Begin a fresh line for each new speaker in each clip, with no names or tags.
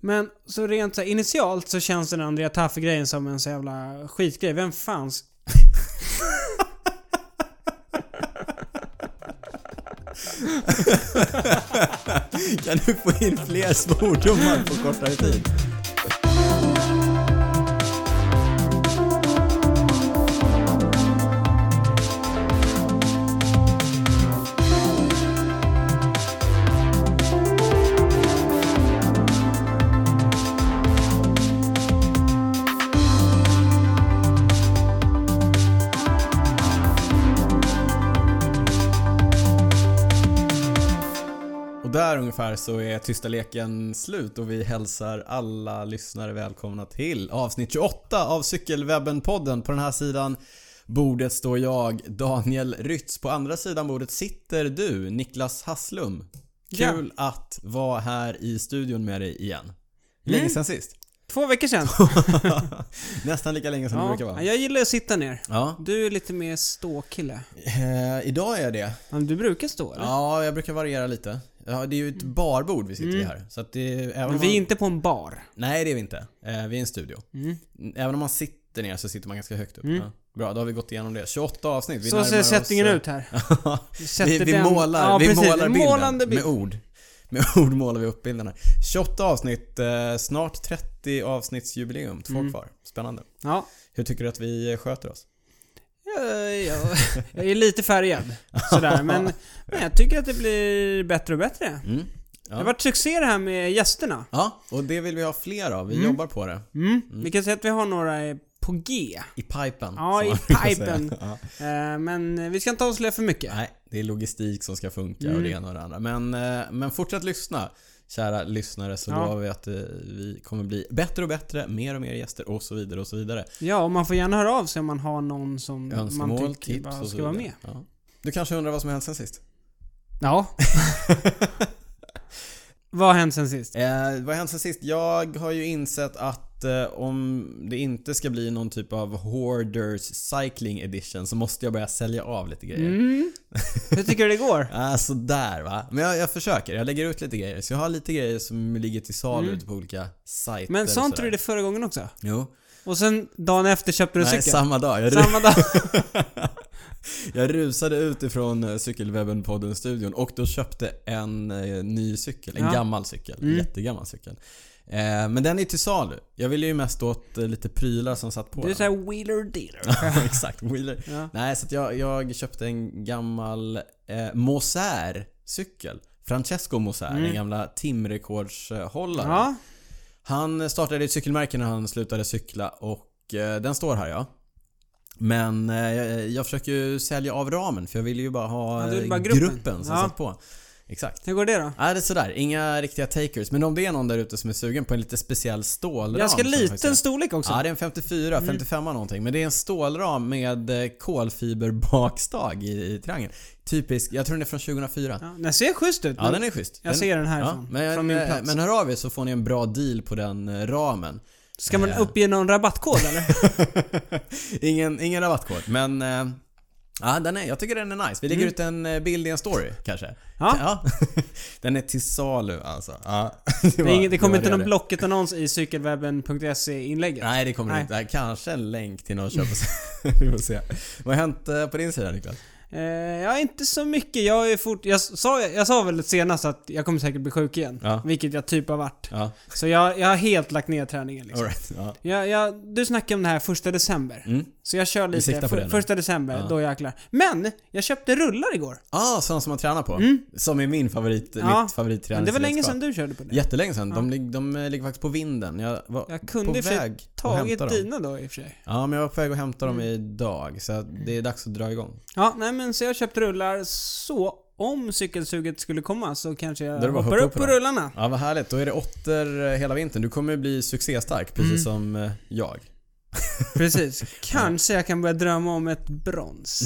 Men så rent så här, initialt så känns den Andrea Taffe-grejen som en så jävla skitgrej. Vem fanns...
Kan du få in fler svordomar på kortare tid? Och där ungefär så är tysta leken slut och vi hälsar alla lyssnare välkomna till avsnitt 28 av Cykelwebben-podden. På den här sidan bordet står jag, Daniel Rytz. På andra sidan bordet sitter du, Niklas Hasslum.
Ja.
Kul att vara här i studion med dig igen. Länge
Mm.
sen sist.
Två veckor sedan.
Nästan lika länge som det brukar
Ja,
vara.
jag gillar att sitta ner.
Ja.
Du är lite mer ståkille.
Eh, idag är jag det.
Ja, men du brukar stå eller?
Ja, jag brukar variera lite. Ja, det är ju ett barbord vi sitter vid här. Så att det, även om
Mm. Men vi är inte på en bar.
Nej, det är vi inte. Eh, vi är i en studio.
Mm.
Även om man sitter ner så sitter man ganska högt upp. Ja. Bra, då har vi gått igenom det. 28 avsnitt. Vi
Så
närmar
ser
oss,
sättningen
eh,
ut här. Vi,
vi,
sätter
vi
den-
målar,
Ja,
vi
precis.
målar bilden
Målande bild.
med ord. Med ord målar vi upp bilden här. 28 avsnitt, eh, snart 30 avsnittsjubileum. Två
Mm.
kvar. Spännande.
Ja.
Hur tycker du att vi eh, sköter oss?
Jag, jag, jag är lite färgad. Sådär. Men, men jag tycker att det blir bättre och bättre.
Mm.
Det har varit succé det här med gästerna.
Ja, och det vill vi ha fler av. Vi jobbar på det.
Mm. Vi kan säga att vi har några eh, på G.
I pipen.
Ja,
som
i
man brukar säga.
pipen.
Ja.
Eh, Men eh, vi ska inte avslöja för mycket.
Nej, det är logistik som ska funka och
Mm.
det ena och det andra. Men, eh, men fortsätt lyssna, kära lyssnare, så
Ja.
lovar vi att eh, vi kommer bli bättre och bättre, mer och mer gäster och så vidare och så vidare.
Ja, och man får gärna höra av sig om man har någon som
Önskemål,
man tycker
tips
bara
och så
ska vara
vidare.
med.
Ja. Du kanske undrar vad som har hänt sen sist?
Ja. Vad har hänt sen sist?
Eh, vad har hänt sen sist? Jag har ju insett att eh, om det inte ska bli någon typ av Hoarders Cycling Edition så måste jag börja sälja av lite grejer.
Mm. Hur tycker du det går?
Ah, sådär va. Men jag, jag försöker. Jag lägger ut lite grejer. Så jag har lite grejer som ligger till salu ute på olika sajter
Mm. Men
och
sa inte du
sådär.
det förra gången också?
Jo.
Och sen dagen efter köpte du
Nej,
cykeln?
samma dag. Jag,
Samma dag?
jag rusade ut ifrån eh, Cykelwebben-podden-studion och då köpte en eh, ny cykel. En
Ja. Mm.
gammal cykel. En jättegammal cykel. Eh, men den är till salu. Jag ville ju mest åt eh, lite prylar som satt på
Du är
den.
såhär wheeler dealer.
Ja, Exakt, wheeler.
Ja.
Nej, så att jag, jag köpte en gammal eh, Moser-cykel. Francesco Moser, den gamla timrekordshållaren.
Mm. Ja.
Han startade ett cykelmärke när han slutade cykla och eh, den står här ja. Men eh, jag, jag försöker ju sälja av ramen för jag ville ju bara ha
Ja, du
eh,
ville bara
gruppen.
gruppen.
som
Ja.
satt på. Exakt.
Hur går det då?
Nej, det är sådär. Inga riktiga takers. Men om det är någon där ute som är sugen på en lite speciell stålram.
Ganska
som faktiskt är-
liten Mm. storlek också.
Ja, det är en 54, 55 någonting. Men det är en stålram med eh, kolfiberbakstag i, i triangeln. Typisk, jag tror den är från 2004.
Ja, den ser schysst ut.
Ja, den är schysst.
Jag ser den härifrån,
men, eh,
från min plats.
Men hör av er så får ni en bra deal på den eh, ramen.
Ska man uppge någon rabattkod eller?
ingen, ingen rabattkod, men... eh, Ja, den är, jag tycker den är nice. Vi lägger ut en eh, bild i en story kanske.
Mm. Ja.
Den är till salu alltså. Ja,
Det, är ingen, det kommer
var
inte någon
det.
Blocket-annons i cykelwebben.se inlägget?
Nej, det kommer
Nej.
inte. Kanske en länk till någon köp och sälj. Vi får se. Vad har hänt eh, på din sida Niklas?
Eh, ja, inte så mycket. Jag är fort... Jag sa, jag sa väl senast att jag kommer säkert bli sjuk igen.
Ja.
Vilket jag typ har varit.
Ja,
Så jag, jag har helt lagt ner träningen liksom.
alright. Ja.
jag, jag, Du snackade om det här första december.
Mm.
Så jag kör lite
siktar på
för,
det nu.
första december, då jäklar. Men! Jag köpte rullar igår.
Ah, sådana som man tränar på. Som är min favorit,
Mm. Ja.
mitt favoritträningsredskap.
Men det var länge sedan du körde på det.
Jättelänge sedan. De, lig, de eh, ligger faktiskt på vinden. Jag var
Jag
på
kunde i och för sig
väg att hämta
Tagit
dem.
dina Mm. då i och för sig.
Ja, men jag var på väg att hämta dem idag. Så att
Mm.
det är dags att dra igång.
Ja, nej men så jag köpte rullar. Så om cykelsuget skulle komma så kanske jag
Då är det bara att
hoppar
hoppa
upp
på
på
dem.
rullarna.
Ja, vad härligt. Då är det åtter eh, hela vintern. Du kommer ju bli succéstark,
Mm.
precis som eh, jag.
Precis. Kanske jag kan börja drömma om ett brons.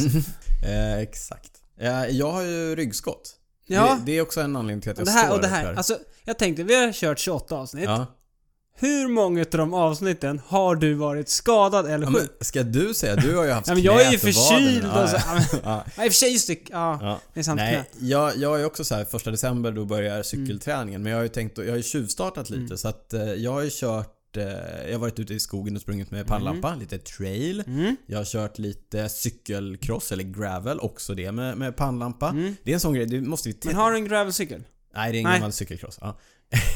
Eh, exakt. Eh, jag har ju ryggskott.
Ja.
Det, det är också en anledning till att jag
Det här Alltså,
står
och det här.
upp
Alltså, jag tänkte, vi har kört 28 avsnitt.
ja.
Hur många av de avsnitten har du varit skadad eller
Ja,
sjuk?
men, ska du säga? Du har ju haft
Ja, men jag är ju
knät och vaden.
förkyld alltså.
Ja,
och så.
ja.
Ja, men- Ja, i
Ja.
och för sig just det. Ja,
Ja.
det är sant.
Nej,
Nej.
jag, jag är också så här, första december då
Mm.
börjar cykelträningen. Men jag har ju tänkt, jag har ju tjuvstartat lite så att eh, jag har ju kört eh, jag har varit ute i skogen och sprungit med pannlampa,
Mm.
lite trail. Jag har kört lite cykelcross eller gravel, också det med, med pannlampa. Det är en sån grej, det måste vi
Mm. Men har du en gravelcykel?
Nej, det är ingen
Nej.
gammal cykelcross. Ja.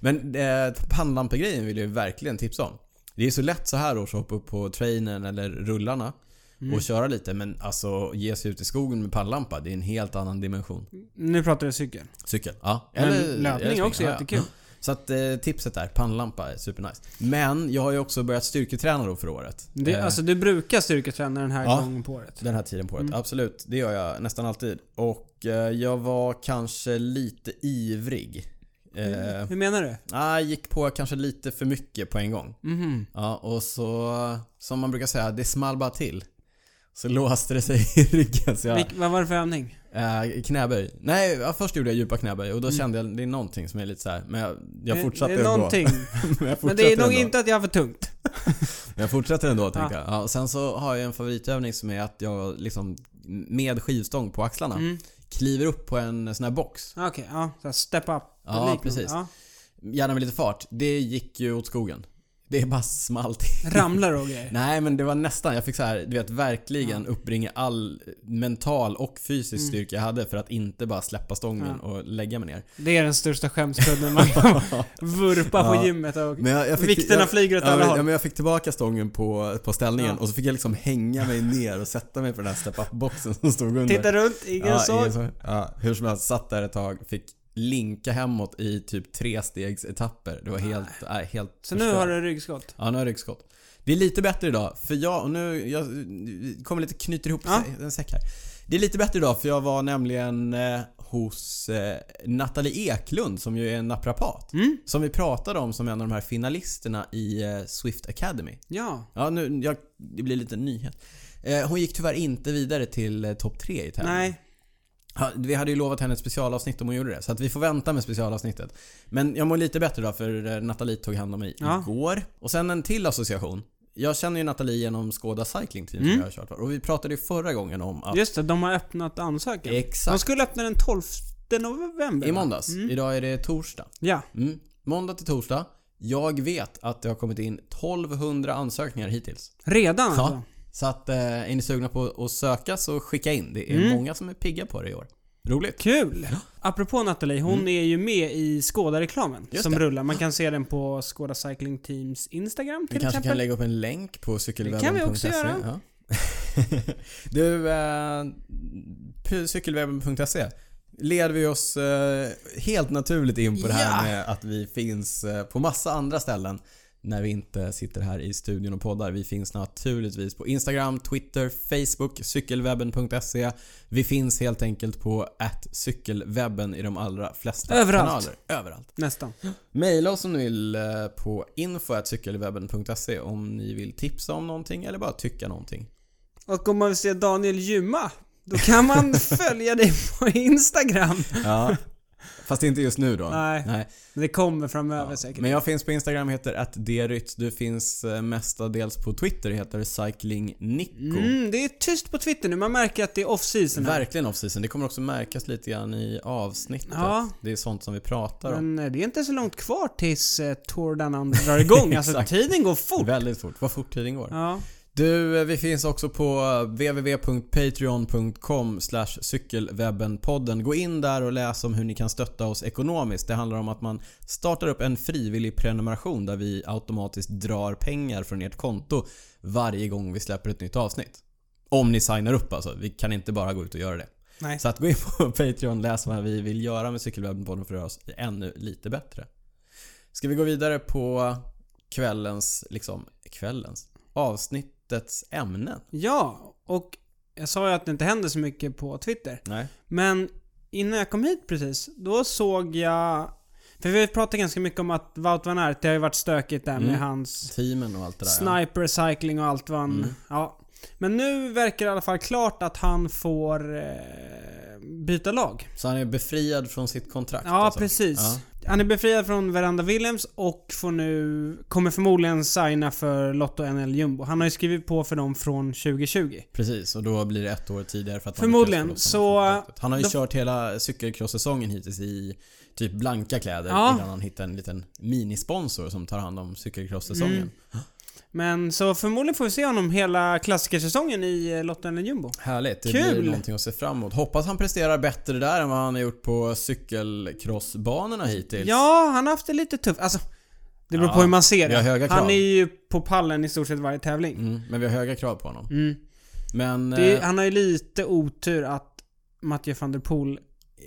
Men eh, pannlampegrejen vill jag ju verkligen tipsa om. Det är så lätt så här års att hoppa upp på trainen eller rullarna
Mm.
och köra lite. Men alltså ge sig ut i skogen med pannlampa, det är en helt annan dimension.
Nu pratar jag cykel.
Cykel, ja.
Men löpning är
springa,
också
ja,
jättekul.
Ja. Så att eh, tipset där, pannlampa är supernice. Men jag har ju också börjat styrketräna då för året.
Det,
Eh,
Alltså Mm. du brukar styrketräna den här
Ja.
gången på året.
den här tiden på året. Absolut, det gör jag nästan alltid. Och eh, jag var kanske lite ivrig.
Mm.
Eh,
Hur menar du?
Nej, gick på kanske lite för mycket på en gång.
Mhm.
Ja, och så, som man brukar säga, det small bara till. Så låste det sig i ryggen. Så jag,
Vilk- vad var det för övning?
eh, knäböj. Nej, ja, först gjorde jag djupa knäböj och då kände jag det är någonting som är lite så här. Men jag, jag
Mm. Det-
fortsatte
det är
ändå.
någonting.
men jag fortsatte
Men det är nog
ändå.
inte att jag har för tungt.
Men jag fortsätter ändå tänkte jag. Ja, och sen så har jag en favoritövning som är att jag liksom med skivstång på axlarna
Mm.
kliver upp på en sån här box.
Okej, ja. Så här step up.
Ja,
Liknande.
precis.
Ja.
Gärna med lite fart. Det gick ju åt skogen. Det bara small till.
Ramlar och grejer.
Nej men det var nästan, jag fick så här, du vet verkligen uppbringa all mental och fysisk
Mm.
styrka jag hade för att inte bara släppa stången och lägga mig ner.
Det är den största skämskudden man kan vurpa
Ja.
på gymmet och
Men jag, jag fick,
vikterna
jag,
flyger åt
ja,
alla
men,
håll.
ja, men jag fick tillbaka stången på, på ställningen
Ja.
och så fick jag liksom hänga mig ner och sätta mig på den här step-up-boxen som stod under.
Titta runt, ingen
ja,
såg.
ingen såg. Ja, hur som helst, satt där ett tag, fick linka hemåt i typ tre stegs etapper. Det var helt, nej, helt
Så nu
förstört.
har du ryggskott.
Ja, nu har jag ryggskott. Det är lite bättre idag, för jag, och nu, jag kommer lite knyter ihop
Ja.
sig, en säck här. Det är lite bättre idag för jag var nämligen eh, hos eh, Nathalie Eklund som ju är en naprapat.
Mm.
Som vi pratade om som en av de här finalisterna i eh, Swift Academy.
Ja.
Ja, nu, jag, det blir lite nyhet. Eh, hon gick tyvärr inte vidare till eh, topp tre i tävlingen.
Nej.
Ja, Vi hade ju lovat henne ett specialavsnitt om hon gjorde det, så att vi får vänta med specialavsnittet. Men jag mår lite bättre då för eh, Nathalie tog hand om mig
Ja.
igår. Och sen en till association. Jag känner ju Nathalie genom Skåda Cycling Team som
Mm.
jag har kört för. Och vi pratade ju förra gången om att...
Just det, de har öppnat ansökan. De
Exakt.
skulle öppna den 12 november.
I
va?
måndags. Idag är det torsdag.
Ja.
Mm. Måndag till torsdag. Jag vet att det har kommit in 1200 ansökningar hittills.
Redan
Ja.
alltså?
Så att eh, är ni sugna på att söka så skicka in. Det
Mm.
är många som är pigga på det i år. Roligt.
Kul! Apropå Nathalie, hon är ju med i Skåda-reklamen
Mm. Just
som
det.
rullar. Man kan se den på Skåda Cycling Teams Instagram
Vi
till
kanske kan
exempel.
lägga upp en länk på cykelwebben.se.
Det kan vi också göra.
Ja. du, eh, p- cykelwebben.se leder vi oss eh, helt naturligt in på det här
Ja.
med att vi finns eh, på massa andra ställen när vi inte sitter här i studion och poddar. Vi finns naturligtvis på Instagram, Twitter, Facebook, cykelwebben.se. Vi finns helt enkelt på cykelwebben i de allra flesta
Överallt.
kanaler. Överallt.
Nästan.
Maila oss om ni vill eh, på info.cykelwebben.se om ni vill tipsa om någonting eller bara tycka någonting.
Och om man vill se Daniel gymma, då kan man följa dig på Instagram.
Ja. Fast inte just nu då.
Nej. Men det kommer framöver säkert.
Men jag finns på Instagram, heter attdrytz. Du finns eh, mestadels på Twitter, heter cyclingnico.
Mm, det är tyst på Twitter nu. Man märker att det är off-season. här.
Verkligen off-season. Det kommer också märkas lite grann i avsnittet.
Ja.
Det är sånt som vi pratar om.
Men eh, det är inte så långt kvar tills eh, Tour Down Under drar igång. Alltså
Exakt.
tiden går fort.
Väldigt fort. Vad fort tiden går.
Ja.
Du, eh, vi finns också på eh, www.patreon.com cykelwebbenpodden. Gå in där och läs om hur ni kan stötta oss ekonomiskt. Det handlar om att man startar upp en frivillig prenumeration där vi automatiskt drar pengar från ert konto varje gång vi släpper ett nytt avsnitt. Om ni signar upp alltså. Vi kan inte bara gå ut och göra det.
Nej.
Så att gå in på Patreon, läs vad vi vill göra med Cykelwebbenpodden för att göra oss ännu lite bättre. Ska vi gå vidare på kvällens, liksom, kvällens, avsnittets ämnen?
Ja, och jag sa ju att det inte händer så mycket på Twitter.
Nej.
Men innan jag kom hit precis, då såg jag... För vi pratade ganska mycket om att Wout van Aert, det har ju varit stökigt där med
Mm.
hans
Teamen och allt det där. ja. Mm.
sniper, cycling och allt vad han... Ja. Men nu verkar det i alla fall klart att han får eh, byta lag.
Så han är befriad från sitt kontrakt
Ja,
alltså.
precis.
Ja.
Han är befriad från Veranda Williams och får nu, kommer förmodligen signa för Lotto NL Jumbo. Han har ju skrivit på för dem från 2020.
Precis, och då blir det ett år tidigare för att
Förmodligen,
han lyckas
så-
få loss honom från kontraktet. Han har ju
då-
kört hela cykelcross-säsongen hittills i typ blanka kläder
Ja.
innan han hittar en liten minisponsor som tar hand om cykelcross-säsongen.
Mm. Men så förmodligen får vi se honom hela klassikersäsongen i eh, Lotto NL Jumbo.
Härligt, det
Kul!
blir någonting att se fram emot. Hoppas han presterar bättre där än vad han har gjort på cykelcrossbanorna hittills.
Ja, han har haft det lite tufft. Alltså, det beror
Ja,
på hur man ser
vi har höga
det. Han
krav.
är ju på pallen i stort sett varje tävling.
Mm, men vi har höga krav på honom.
Mm.
Men...
Det,
eh,
han har ju lite otur att Mathieu van der Poel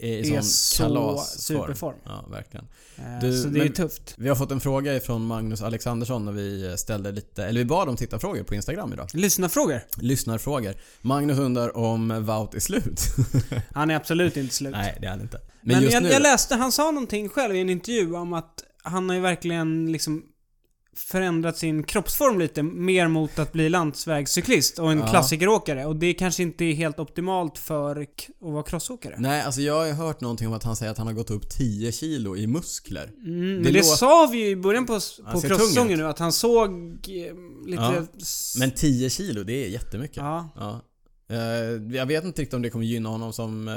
eh, i
är
sån
så
kalasform.
superform.
Ja, verkligen.
Eh,
Du,
så det är ju
men-
tufft.
Vi har fått en fråga ifrån Magnus Alexandersson när vi ställde lite, eller vi bad om tittarfrågor på Instagram idag.
Lyssna frågor.
Lyssnarfrågor. Magnus undrar om Wout är slut.
Han är absolut inte slut.
Nej, det är han inte. Men,
Men,
just
jag,
nu
jag läste, han sa någonting själv i en intervju om att han har ju verkligen liksom förändrat sin kroppsform lite mer mot att bli landsvägscyklist och en
Ja.
klassikeråkare. Och det kanske inte är helt optimalt för k- att vara crossåkare.
Nej, alltså jag har ju hört någonting om att han säger att han har gått upp 10 kilo i muskler.
Mm, men
Det
det,
låter-
sa vi ju i början på, s-
Han
på
ser tung ut.
crossången nu, att han såg eh, lite...
Ja,
s-
Men 10 kilo, det är jättemycket. Ja.
ja.
Eh, jag vet inte riktigt om det kommer gynna honom som eh,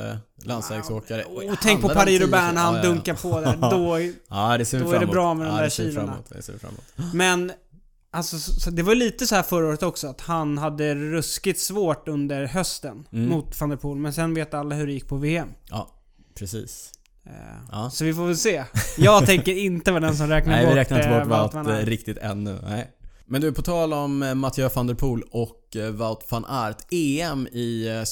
landsvägsåkare.
Och,
Oj,
tänk på
handlar det om 10
Paris-Roubaix
kilo?
när han
Ja, ja, ja.
dunkar på där. Då,
Ja, det ser vi
Då är
fram
det
emot.
bra med de
ja,
där
det ser vi
kilorna.
fram emot, Det ser vi fram emot.
men, alltså, så, så, det var lite så här förra året också, att han hade ruskigt svårt under hösten
Mm.
mot van der Poel. Men sen vet alla hur det gick på VM.
Ja, precis.
Eh,
Ja.
Så vi får väl se. Jag tänker inte vara den som räknar
Nej,
bort
vi räknar inte
eh,
bort
Wout van
Wout eh,
Aert.
riktigt ännu. Nej. Men du, på tal om eh, Mathieu van der Poel och eh, Wout van Aert. EM i eh,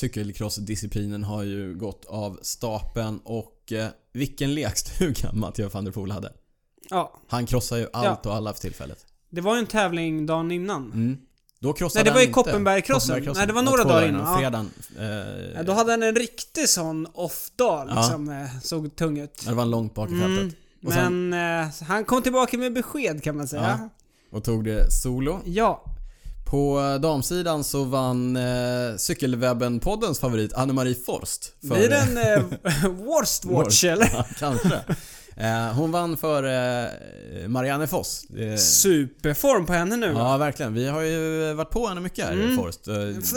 cykelcrossdisciplinen har ju gått av stapeln och eh, vilken lekstuga Mathieu van der Poel hade.
Ja.
Han krossar ju allt och alla för tillfället.
Det var ju en tävling dagen innan.
Mm. Då krossade
Nej, det var ju
han inte-
Koppenbergkrossen. Nej, det var några
två
dagar innan, ja.
Fredagen.
Eh,
Eh,
Då hade han en riktig sån off-dag
Ja.
liksom. eh, Såg tung ut.
Det var långt bak i fältet.
Mm.
Och
Men
sen-
eh, han kom tillbaka med besked kan man säga.
Och tog det solo.
Ja.
På eh, damsidan så vann eh, Cykelwebben-poddens favorit Anne-Marie Forst.
ja. Blir det en eh, worst watch eller?
Ja, kanske. Eh, hon vann för eh, Marianne Foss. Eh,
Superform på henne nu.
ja, verkligen. Vi har ju varit på henne mycket här,
Mm.
Forst. Eh,
Före detta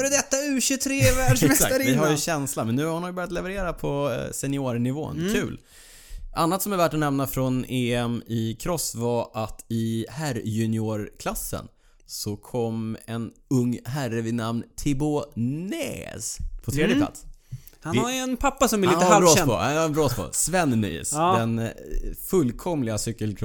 Exakt, vi har
U23-världsmästarinna.
ju känsla. Men nu har hon ju börjat leverera på eh, seniornivån.
Mm.
Kul. Annat som är värt att nämna från EM i cross var att i herrjuniorklassen så kom en ung herre vid namn Thibaut Näs på tredje plats.
Han har ju en pappa som är
Han
Mm. lite
har brås
halvkänd.
på. Han har brås på. Sven Nys.
Ja.
Den eh, fullkomliga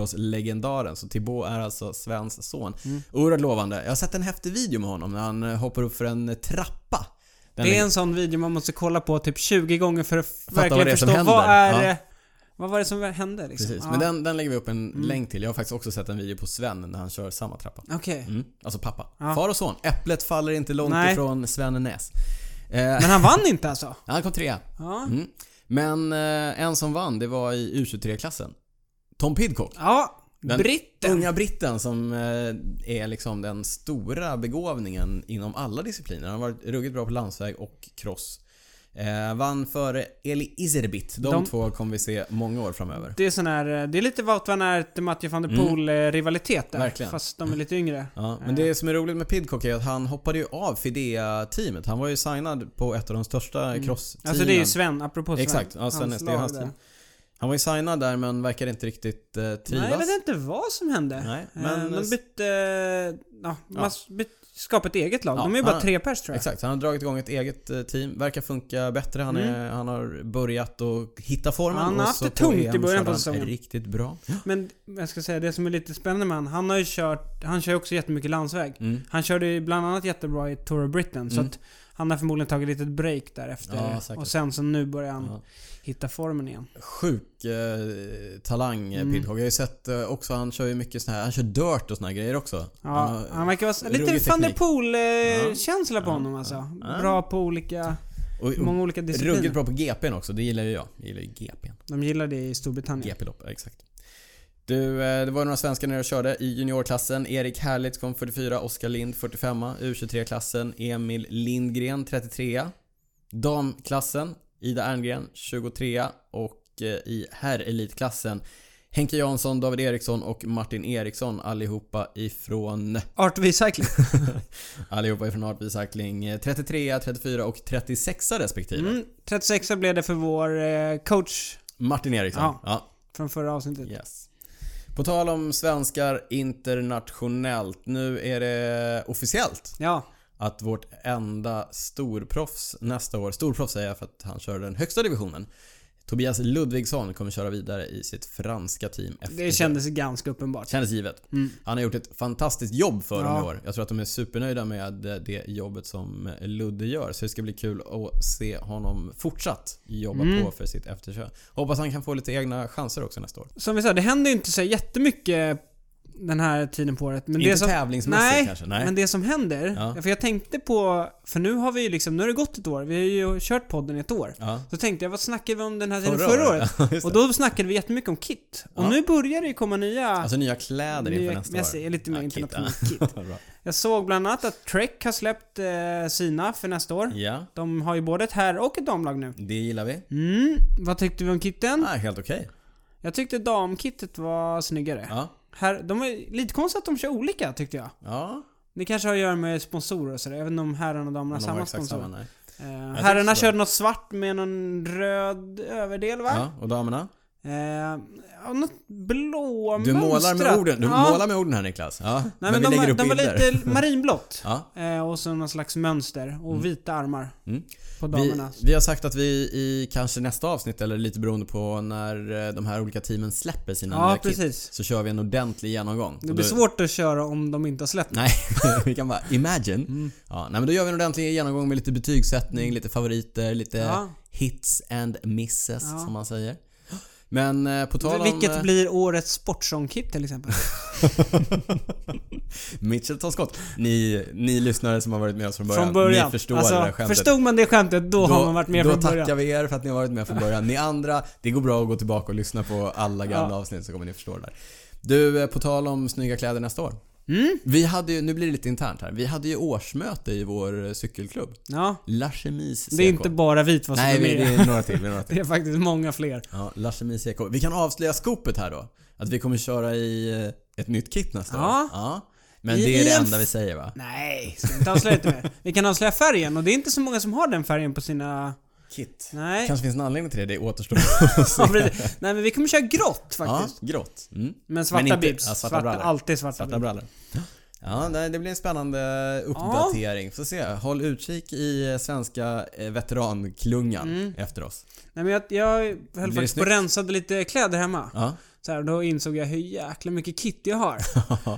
cykelcross-legendaren. Så Thibaut är alltså Svens son.
Mm.
Oerhört lovande. Jag har sett en häftig video med honom när han eh, hoppar upp för en eh, trappa. Den
Det är en sån video man måste kolla på typ 20 gånger för att verkligen
vad det är som
förstå vad
händer.
är...
Ja.
Vad var det som hände liksom?
Precis.
Ja. Mm.
Men den, den lägger vi upp en länk till. Jag har faktiskt också sett en video på Sven när han kör samma trappa.
Okej.
Mm. Alltså pappa.
Ja.
Far och son. Äpplet faller inte långt
Nej.
ifrån Sven Näs. Eh,
Men han vann inte alltså?
han kom trea.
Ja.
Mm. Men eh, en som vann, det var i U23-klassen. Tom Pidcock.
Ja.
Den
Britten.
Unga britten som eh, är liksom den stora begåvningen inom alla discipliner. Han har varit ruggigt bra på landsväg och cross. Eh, vann före Eli Izerbit. De,
De-
två kommer vi se många år framöver.
Det är sån här, eh, det är lite Wout van Aert, Mathieu van der Poel eh, rivalitet där.
Mm. Verkligen.
Fast de är lite yngre.
Ja, men det som är roligt med Pidcock är att han hoppade ju av Fidea-teamet. Han var ju signad på ett av de största cross-teamen.
Alltså det är ju Sven, apropå Sven.
Exakt, ja, Sven
Hans
Näs, det är hans
lag där.
team. Han var ju signad där men verkar inte riktigt eh,
Nej,
trivas.
jag vet inte vad som hände.
Nej, men- eh,
men... De bytte... eh, Ja, man bytte, skapade ett eget lag.
Ja,
de är ju bara
han-
tre pers tror jag.
Exakt, han har dragit igång ett eget eh, team. Verkar funka bättre. Han, är, han har börjat att hitta formen.
Mm. Han har
och
haft
så
det
på
tungt i
EM så
början
hade
på
han
säsongen.
Riktigt bra.
Men jag ska säga, det som är lite spännande med han, han har ju kört... Han kör ju också jättemycket landsväg.
Mm.
Han körde ju bland annat jättebra i Tour of Britain, så att han har förmodligen tagit ett litet break därefter.
Ja, säkert.
och sen så nu börjar han
Ja.
hitta formen igen.
Sjuk eh, talang mm. Pidcock. Jag har ju sett eh, också, han kör ju mycket sån här, han kör dirt och såna här grejer också.
Ja,
Han
han,
har-
verkar vara s-
ruggig
lite van der
teknik. Ja.
Poel-känsla på honom alltså.
Ja.
Bra på olika...
och, och
Många olika discipliner.
ruggigt bra på GPn också. Det gillar ju jag. Jag gillar ju GPn.
De gillar det i Storbritannien.
GP-lopp, exakt. Du, eh, det var ju några svenskar när jag körde i juniorklassen. Erik Härlitz kom 44, Oskar Lind 45, U23-klassen Emil Lindgren 33. Damklassen Ida Erngren 23 och eh, i herrelitklassen Henke Jansson, David Eriksson och Martin Eriksson allihopa ifrån
Art Recycling.
allihopa ifrån Art Recycling 33, 34 och 36 respektive.
Mm, 36 blev det för vår eh, coach
Martin Eriksson.
Ja.
ja.
från förra avsnittet.
Yes. På tal om svenskar internationellt. Nu är det officiellt
Ja,
att vårt enda storproffs nästa år, storproffs säger jag för att han kör den högsta divisionen. Tobias Ludvigsson kommer köra vidare i sitt franska team.
det kändes ganska uppenbart.
Kändes givet. Han har gjort ett fantastiskt jobb för dem
Ja.
i år. Jag tror att de är supernöjda med det jobbet som Ludde gör. Så det ska bli kul att se honom fortsatt jobba
Mm.
på för sitt efterkö. Hoppas han kan få lite egna chanser också nästa år.
Som vi sa, det händer ju inte så jättemycket den här tiden på året. Men
Inte
det som,
tävlingsmässigt
nej,
kanske, nej.
men det som händer.
Ja.
För jag tänkte på, för nu har vi ju liksom, nu har det gått ett år. Vi har ju kört podden i ett år.
Ja.
Så tänkte jag, vad snackade vi om den här tiden
Förra
förra,
året.
året?
Ja, just
och då snackade vi jättemycket om kit. Och nu börjar det ju komma nya...
Alltså nya kläder inför
nya-
nästa år.
jag ser lite mer
Ja, kit,
internationellt
ja. Bra.
Jag såg bland annat att Trek har släppt eh, sina för nästa år.
ja,
De har ju både ett herr och ett damlag nu.
det gillar vi.
Mm, vad tyckte vi om kitten?
Ah, helt okej.
Jag tyckte damkittet var snyggare.
Ja.
Här, de är lite konstigt att de kör olika tyckte jag.
Ja,
Det kanske har att göra med sponsorer och sådär. Jag vet inte om herrarna och damerna har
men de har
samma
exakt
sponsor.
samma. Nej.
Eh,
tycker
herrarna
så.
körde något svart med någon röd överdel va?
Ja, och damerna?
Eh, ja, något blåmönstrat.
Du målar med orden. Du
Ja.
målar med orden här Niklas. Ja,
Nej, men,
vi
de,
lägger
var-
upp
de var
bilder.
lite marinblått.
Ja.
Eh, och så någon slags mönster och vita armar
Mm.
på
Vi,
damerna.
vi har sagt att vi i kanske nästa avsnitt, eller lite beroende på när eh, de här olika teamen släpper sina
Ja,
nya kit,
precis.
så kör vi en ordentlig genomgång.
Det
Och
blir
då-
svårt att köra om de inte har släppt.
Nej, vi kan bara imagine.
Mm.
Ja, nej, men då gör vi en ordentlig genomgång med lite betygssättning, lite favoriter, lite
Ja.
hits and misses
Ja.
som man säger. Men eh, på tal om...
Vilket
eh,
blir årets sportsångkit till exempel.
Mitchelton Scott. Ni, ni lyssnare som har varit med oss från början,
Från början.
ni förstår
alltså,
det där skämtet.
Förstod man det skämtet då, har man varit med
då
från början.
tackar vi er för att ni har varit med från början. Ni andra, det går bra att gå tillbaka och lyssna på alla gamla
Ja.
avsnitt så kommer ni förstå det där. Du, eh, på tal om snygga kläder nästa år.
Mm.
Vi hade ju, nu blir det lite internt här. Vi hade ju årsmöte i vår eh, cykelklubb.
Ja.
La Chemise CK.
Det är inte bara vit vad som
Nej,
är
vi,
med.
det är några till. Vi är några till.
Det är faktiskt många fler.
Ja, La Chemise CK. Vi kan avslöja skopet här då. Att vi kommer köra i eh, ett nytt kit nästa
Ja.
år. Ja. Men
I-
det är
i
det
en
enda
f-
vi säger va?
Nej, ska inte avslöja lite mer. Vi kan avslöja färgen och det är inte så många som har den färgen på sina...
Kit.
Nej.
Kanske finns en anledning till det, det återstår
Ja, precis. Nej men vi kommer köra grått
Ja,
faktiskt.
grått. Mm.
Men svarta
Men inte-
bibs.
ja, svarta
svarta
brallor.
alltid svarta,
Svarta
bibs.
brallor. Ja, nej, det blir en spännande uppdatering. Får se. Håll utkik i eh, svenska eh, veteranklungan
Mm.
efter oss.
Nej men jag, jag höll faktiskt på
snyggt?
och rensade lite kläder hemma.
Ja.
Så här, då insåg jag hur jäkla mycket kit jag har.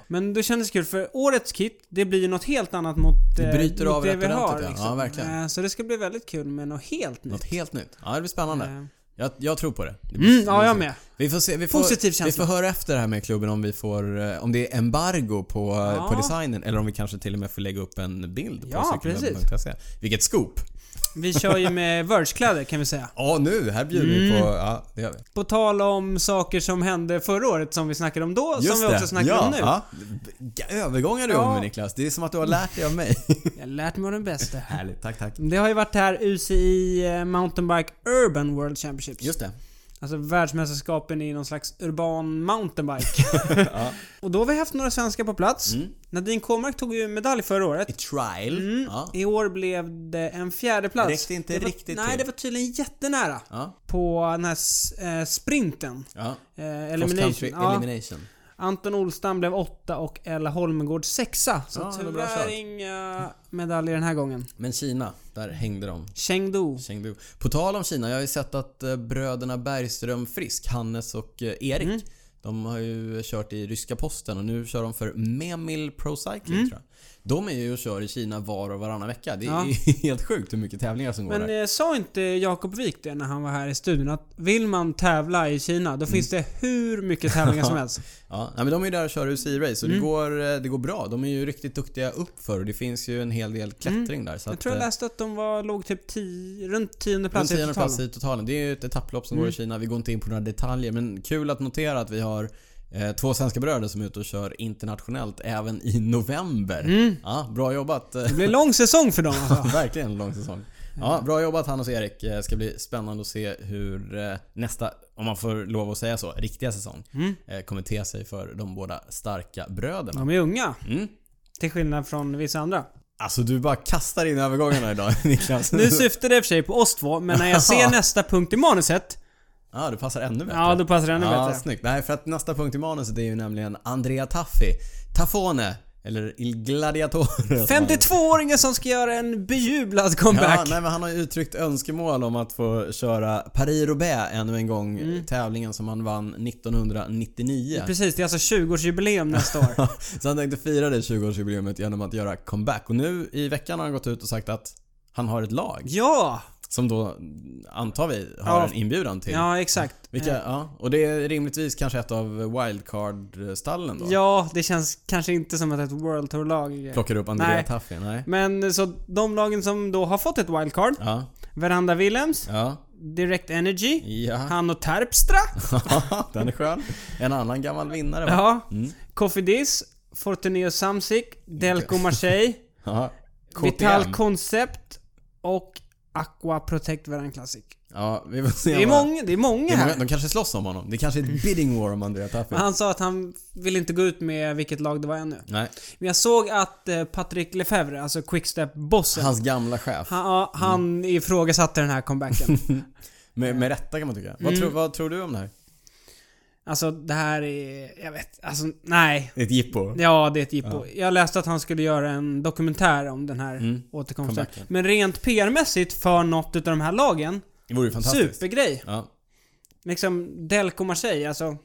Men då kändes det kul för årets kit, det blir ju något helt annat mot
Det
eh,
bryter
mot
av
det
rätt
vi har.
ordentligt, ja.
liksom.
Ja, verkligen.
Eh, Så det ska bli väldigt kul med något helt nytt.
Något helt nytt. Ja, det blir spännande.
Eh.
Jag, jag tror på det. det blir,
Mm, ja, jag med.
Vi får se. Vi får,
Positiv känsla.
Vi får höra efter det här med klubben om vi får, eh, om det är embargo på, eh,
Ja.
på designen eller om vi kanske till och med får lägga upp en bild på
Ja,
cykelwebben.se. Vilket scoop!
Vi kör ju med Verge-kläder kan vi säga.
Ja, nu, här bjuder vi
Mm.
på, ja det gör vi.
På tal om saker som hände förra året som vi snackade om då, som vi också snackar
ja,
om nu.
Ja. G- Övergångar du
Ja.
om Niklas, det är som att du har lärt dig av mig.
Jag har lärt mig av den bästa.
Härligt, tack tack.
Det har ju varit det här UCI eh, Mountainbike Urban World Championships.
Just det.
Alltså världsmästerskapen i någon slags urban mountainbike. Och då har vi haft några svenskar på plats.
Mm.
Nadine Kåmark tog ju medalj förra året.
I trial.
Mm.
Ja.
I år blev det en fjärde plats.
Det räckte inte
var,
riktigt
Nej,
till.
det var tydligen jättenära.
Ja.
På den här s- eh, sprinten.
ja.
Eh,
Cross
elimination.
country
Ja.
elimination.
Anton Olstam blev åtta och Ella Holmgård sexa. Så
Ja, det var bra
tyvärr
kört.
inga medaljer den här gången.
Men Kina, där hängde de.
Chengdu.
Chengdu. På tal om Kina, jag har ju sett att eh, bröderna Bergström Frisk, Hannes och eh, Erik,
Mm.
de har ju kört i ryska posten och nu kör de för Memil Pro Cycling tror jag. De är ju och kör i Kina var och varannan vecka. Det är
Mm. Ja.
helt sjukt hur mycket tävlingar som går
Men
där.
eh, sa inte Jakob Wik det när han var här i studion? Att vill man tävla i Kina, då finns
Mm.
det hur mycket tävlingar som helst.
Ja, nej, men de är ju där och kör UCI-race och
Mm.
det, går, eh, det går bra. De är ju riktigt duktiga uppför och det finns ju en hel del klättring där. Så
Mm. Jag tror jag
eh,
läste att de var, låg typ tio, runt tionde
den
plats i
tionde plats
totalen. Mm.
i totalen. Det är ju ett etapplopp som går i Kina. Vi går inte in på några detaljer men kul att notera att vi har eh, två svenska bröder som är ute och kör internationellt även i november.
Mm.
Ja, bra jobbat.
Det blir lång säsong för dem alltså.
Verkligen en lång säsong. Ja, bra jobbat Hannes och Erik. Eh, Ska bli spännande att se hur eh, nästa om man får lov att säga så, riktiga säsong.
Mm.
Eh, kommer te sig för de båda starka bröderna.
De är unga.
Mm.
Till skillnad från vissa andra.
Alltså du bara kastar in övergångarna idag Niklas.
Nu syftar det i och för sig på oss två, men när jag ser nästa punkt i manuset.
Ja, du passar ännu bättre.
Ja, då passar det ännu
ja,
bättre.
snyggt. Nej, för att nästa punkt i manuset är ju nämligen Andrea Taffi. Tafone. Eller Il Gladiatore.
52-åringen som ska göra en bejublad comeback.
Ja, nej, men han har ju uttryckt önskemål om att få köra Paris-Roubaix ännu en gång.
Mm.
Tävlingen som han vann 1999.
Precis, det är alltså 20-årsjubileum nästa år.
Så han tänkte fira det 20-årsjubileumet genom att göra comeback. Och nu i veckan har han gått ut och sagt att han har ett lag.
Ja!
Som då, antar vi, har
Ja.
en inbjudan till.
Ja, Eh. exakt.
Vilka, ja. Och det är rimligtvis kanske ett av wildcard-stallen då?
Ja, det känns kanske inte som att ett World Tour-lag...
Plockar upp Andrea
Nej.
Taffi? Nej.
Men så de lagen som då har fått ett wildcard.
Ja.
Veranda Willems,
Ja.
Direct Energy,
Ja.
han och Terpstra.
Den är skön. En annan gammal vinnare va?
Ja. Kofidis, Fortuneo Samsic, Delco Marseille,
Ja.
Vital
KTM.
Concept och Aqua Protect Veran Classic.
Ja, vi får se.
Det är,
vad-
många, det är
Det
många
är många.
här. Mm.
De kanske slåss om honom. Det kanske är ett bidding war om Andrea Taffi.
Men han sa att han vill inte gå ut med vilket lag det var ännu.
Nej.
Men jag såg att eh, Patrick Lefebvre, alltså Quickstep-bossen, han,
Hans gamla chef.
ja,
Mm.
han ifrågasatte den här comebacken.
Med, med rätta kan man tycka. Vad,
Mm.
tror- vad tror du om det här?
alltså det här är... Jag vet. Alltså nej.
Ett jippo?
Ja, det är ett jippo. Jag läste att han skulle göra en dokumentär om den här återkomsten.
Mm. Comebacken.
Men rent PR-mässigt för något utav de här lagen,
Det vore ju fantastiskt.
supergrej.
Ja.
Liksom Delco Marseille, alltså.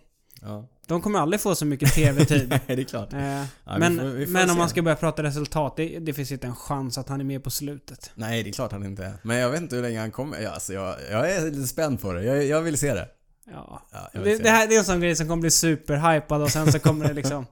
ja.
De kommer aldrig få så mycket TV-tid.
Nej, det är klart.
Eh,
vi
men
får- vi får
men om
se.
man ska börja prata resultat, det, det finns inte en chans att han är med på slutet.
Nej, det är klart han inte är. Men jag vet inte hur länge han kommer. Ja, alltså, jag, jag är lite spänd på det. Jag, jag vill se det.
Ja.
Ja, jag vill
det,
se
det här det är en sån grej som kommer bli superhypad och sen så kommer det liksom...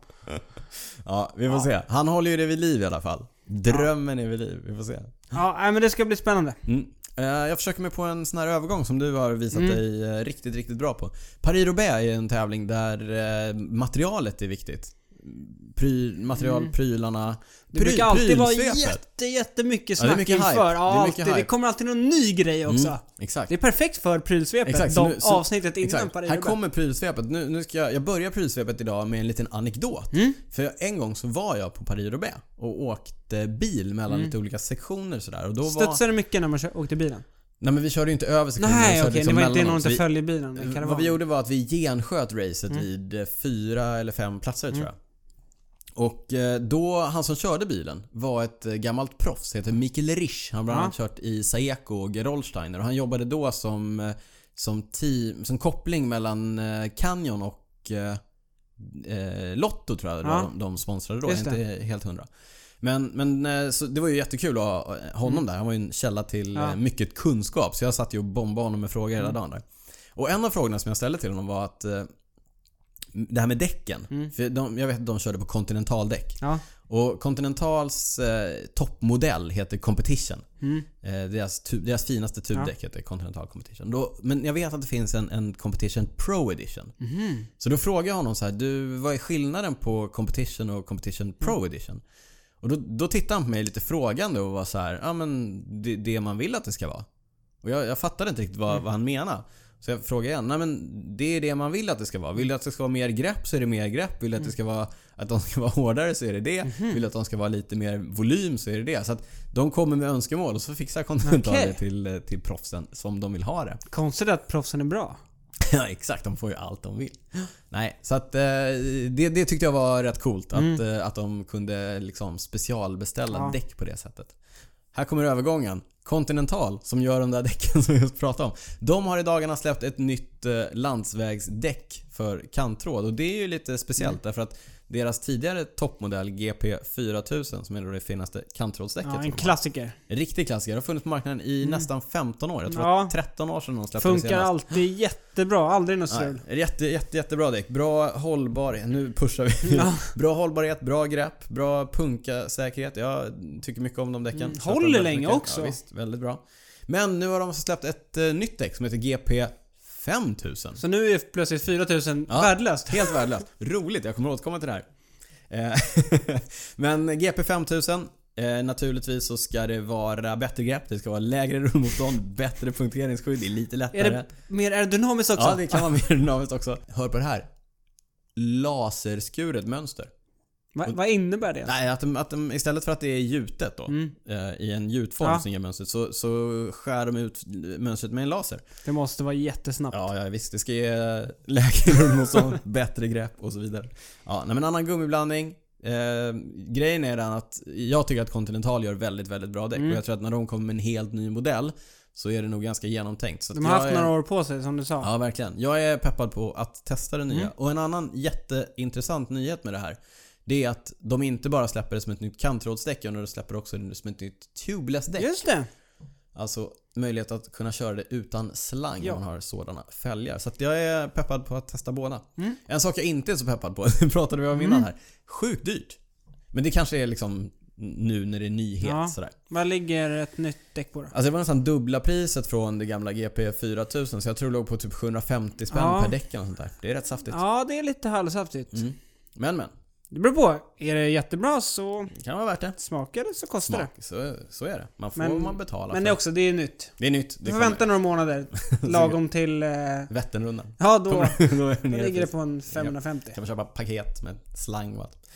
Ja, vi får se. Han håller ju det vid liv i alla fall. Drömmen är vid liv. Vi får se.
Ja, nej, men det ska bli spännande.
Mm. Eh, Jag försöker mig på en sån här övergång som du har visat
Mm.
dig eh, riktigt, riktigt bra på. Paris-Roubaix är en tävling där eh, materialet är viktigt. Pry, material, prylarna.
Mm. Det brukar alltid vara
prylsvepet.
jätte, jättemycket
Ja, det är
snack
mycket hype.
inför.
Det är
Ja,
mycket
alltid, det,
hype.
kommer alltid någon ny grej också.
Mm, exakt.
Det är perfekt för prylsvepet.
Exakt,
Exakt,
så
de
nu- så-
avsnittet innan
Exakt.
Paris
Här kommer prylsvepet. Nu, nu ska jag, jag börjar prylsvepet idag med en liten anekdot.
Mm.
För jag- en gång så var jag på Paris-Roubaix och åkte bil mellan
Mm.
lite olika sektioner sådär. Och då var,
Studsade mycket när man kö- åkte bilen?
nej men vi körde ju inte över sektioner. vi
Nej,
Mm, körde
okej.
liksom
det var inte
mellan
någon
dem. Så
som
vi- Mm,
följde bilen. Det kan det
Vad vi
vara. Mm.
gjorde var att vi gensköt racet vid eh, fyra eller fem platser tror jag. Och eh, då, han som körde bilen var ett eh, gammalt proffs, heter Mikael Risch. Han har bland annat kört i Saeco och Gerolsteiner och han jobbade då som, eh, som, team, som koppling mellan eh, Canyon och eh, eh, Lotto tror jag det var
Ja.
de, de sponsrade då. Jag
Just
är inte helt hundra. Men, men eh, så det var ju jättekul att ha eh, honom där. Han var ju en källa till
Mm. Ja. Mm.
eh, mycket kunskap. Så jag satt ju och bombade honom med frågor hela dagen där. Och en av frågorna som jag ställde till honom var att eh, det här med däcken. För de, jag vet att de körde på kontinentaldäck.
Mm. Ja.
Och Continentals eh, toppmodell heter Competition.
Mm.
Eh, deras, tu- deras finaste tubdäck heter Continental Competition. Då, men jag vet att det finns en, en Competition Pro Edition. Så då frågade jag honom så här, du vad är skillnaden på Competition och Competition Pro Edition? Och då, då tittade han på mig lite frågande och var så här, ja men det, det man vill att det ska vara. Och jag, jag fattade inte riktigt vad, vad han menade. Så jag frågade igen. Nej men det är det man vill att det ska vara. Vill du att det ska vara mer grepp så är det mer grepp. Vill du att det ska vara att de ska vara hårdare så är det det. Vill du att de ska vara lite mer volym så är det det. Så att de kommer med önskemål och så fixar Continental det
Okej.
till, till proffsen som de vill ha det.
Konstigt att proffsen är bra.
Ja exakt, de får ju allt de vill. Nej, så att eh, det, det tyckte jag var rätt coolt. Att, eh, att de kunde liksom specialbeställa
Mm. Ja.
däck på det sättet. Här kommer övergången. Continental, som gör de där däcken som vi just pratade om. De har i dagarna släppt ett nytt eh, landsvägsdäck för kanttråd. Och det är ju lite
Mm.
speciellt därför att deras tidigare toppmodell GP4000 som är då det finaste kanttrådsdäcket.
Ja,
de
en
har.
klassiker.
Riktig klassiker. De har funnits på marknaden i nästan 15 år. Jag tror
Ja.
att 13 år sedan de släppte det
Funkar
senast.
alltid jättebra. Aldrig något
Nej,
strul.
jätte, jätte, jättebra däck. Bra hållbarhet. Nu pushar vi.
Ja.
Bra hållbarhet, bra grepp, bra punkasäkerhet. Jag tycker mycket om de däcken.
Mm,
Köper dem
håller
väldigt
länge
mycket.
också.
Ja, visst, väldigt bra. Men nu har de släppt ett eh, nytt däck som heter GP 5000.
Så nu är plötsligt 4000
Ja.
värdelöst.
Helt värdelöst. Roligt, jag kommer återkomma till det här. Eh, Men GP 5000, Eh, naturligtvis så ska det vara bättre grepp, det ska vara lägre rullmotstånd, bättre punkteringsskydd, det är lite lättare.
Är det mer aerodynamiskt också?
Ja, det kan vara mer dynamiskt också. Hör på det här. Laserskuret mönster.
Va, vad innebär det?
Nej, att, de, att de, istället för att det är gjutet då,
Mm.
eh, i en gjutform
Ja.
som ger mönstret, så, så skär de ut mönstret med en laser.
Det måste vara jättesnabbt.
Ja, ja visst. Det ska ge lägre rullmotstånd, bättre grepp och så vidare. Ja, nej, men annan gummiblandning. Eh, grejen är den att jag tycker att Continental gör väldigt, väldigt bra däck.
Mm.
Och jag tror att när de kommer med en helt ny modell så är det nog ganska genomtänkt. Så
De
att
har
jag
haft
är...
några år på sig som du sa.
Ja, verkligen. Jag är peppad på att testa det nya.
Mm.
Och en annan jätteintressant nyhet med det här. Det är att de inte bara släpper det som ett nytt kantrådsdäck, utan de släpper också det som ett nytt tubeless-däck.
Just det!
Alltså möjlighet att kunna köra det utan slang
Ja.
om man har sådana fälgar. Så att jag är peppad på att testa båda.
Mm.
En sak jag inte är så peppad på, det pratade vi om
Mm.
innan här. Sjukt dyrt. Men det kanske är liksom nu när det är nyhet
Ja.
sådär.
Vad ligger ett nytt däck på då?
Alltså det var nästan dubbla priset från det gamla GP 4000 så jag tror det låg på typ 750 spänn
Ja.
per däck eller något sånt där. Det är rätt saftigt.
Ja, det är lite halvsaftigt.
Mm. Men men,
Det beror på. Är det jättebra så
det kan vara värt det.
smakar det så kostar
Smak, så, så är det. Man får
Men-
vad man
det.
betala
Men det
för.
är också, det är nytt.
Det är nytt.
Du
Det
får
kommer.
vänta några månader. Lagom till... Eh,
Vätternrundan.
ja, då,
Kommer- då är det
då
nere i
ligger det
pris.
på en 550.
Kan man köpa paket med slang och allt.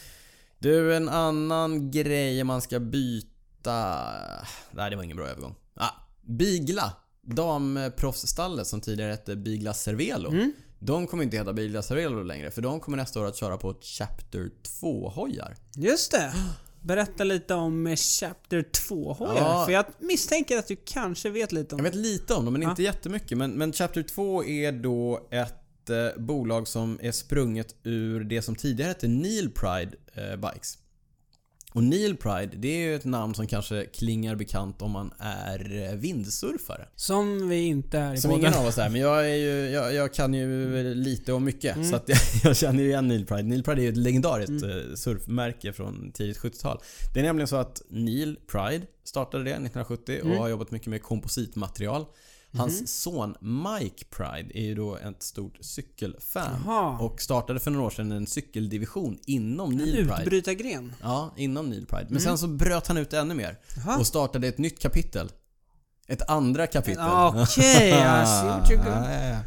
Du, en annan grej man ska byta... Nej, det var ingen bra övergång. Ah, Bigla. Damproffsstallet som tidigare hette Bigla Cervelo.
Mm.
De kommer inte heta Bigla Cervelo längre för de kommer nästa år att köra på Chapter 2-hojar.
Just det! Berätta lite om eh, Chapter 2 hojar.
Ja.
För jag misstänker att du kanske vet lite om
Jag
det.
vet lite om dem men
Ja.
inte jättemycket. Men, men Chapter 2 är då ett eh, bolag som är sprunget ur det som tidigare hette Neil Pride eh, Bikes. Och Neil Pride, det är ju ett namn som kanske klingar bekant om man är eh, vindsurfare.
Som vi inte är i
Som
podden.
ingen av oss är, men jag, är ju, jag, jag kan ju lite och mycket.
Mm.
Så att jag, jag känner ju igen Neil Pride. Neil Pride är ju ett legendariskt
Mm.
eh, surfmärke från tidigt 70-tal. Det är nämligen så att Neil Pride startade det 1970
Mm.
och har jobbat mycket med kompositmaterial.
Mhm.
Hans son Mike Pride är ju då ett stort cykelfan.
Jaha.
Och startade för några år sedan en cykeldivision inom Neil Pride.
Utbrytargren.
Ja, inom Neil Pride. Men sen så bröt han ut ännu mer.
Mm. Jaha.
Och startade ett nytt kapitel. Ett andra kapitel.
Ah, Okej, I see what you're going-
Ja, ja,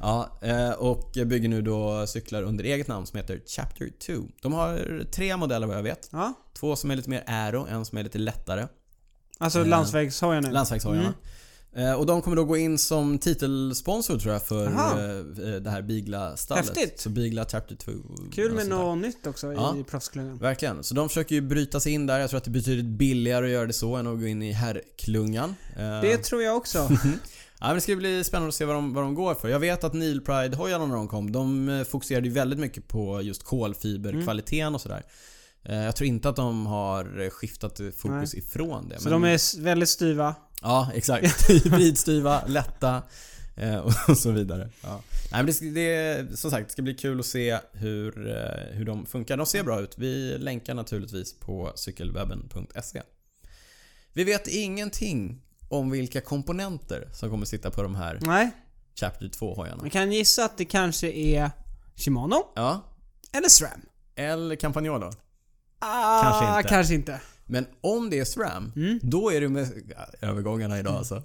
ja. Ja, eh, och bygger nu då cyklar under eget namn som heter Chapter 2. De har tre modeller vad jag vet.
Ja.
Två som är lite mer aero, en som är lite lättare.
Alltså
Eh,
landsvägshojar nu.
Landsvägshojarna.
Mm.
Eh, Och de kommer då gå in som titelsponsor tror jag för
Aha.
eh, det här Bigla-stallet.
Häftigt.
Så Bigla Chapter 2.
Kul med
någon.
något nytt också
Ja.
i proffsklungan.
Verkligen. Så de försöker ju bryta sig in där. Jag tror att det är betydligt billigare att göra det så än att gå in i herrklungan. Eh,
Det tror jag också.
Ja, men det ska bli spännande att se vad de, vad de går för. Jag vet att Neil Pride-hojarna när de kom, de eh, fokuserade ju väldigt mycket på just kolfiberkvaliteten och sådär. Eh, Jag tror inte att de har eh, skiftat eh, fokus ifrån det.
Så de är s- väldigt styva.
Ja, exakt. Hybridstyva, lätta eh, och så vidare. Ja. Nej, men det, ska- det, som sagt, det ska bli kul att se hur, eh, hur de funkar. De ser bra ut. Vi länkar naturligtvis på cykelwebben.se. Vi vet ingenting om vilka komponenter som kommer sitta på de här
Nej.
Chapter 2-hojarna.
Man kan gissa att det kanske är Shimano
Ja,
eller SRAM.
eller Campagnolo.
Ah,
Kanske inte.
Kanske inte.
Men om det är SRAM, då är det med... ja, Övergångarna idag alltså.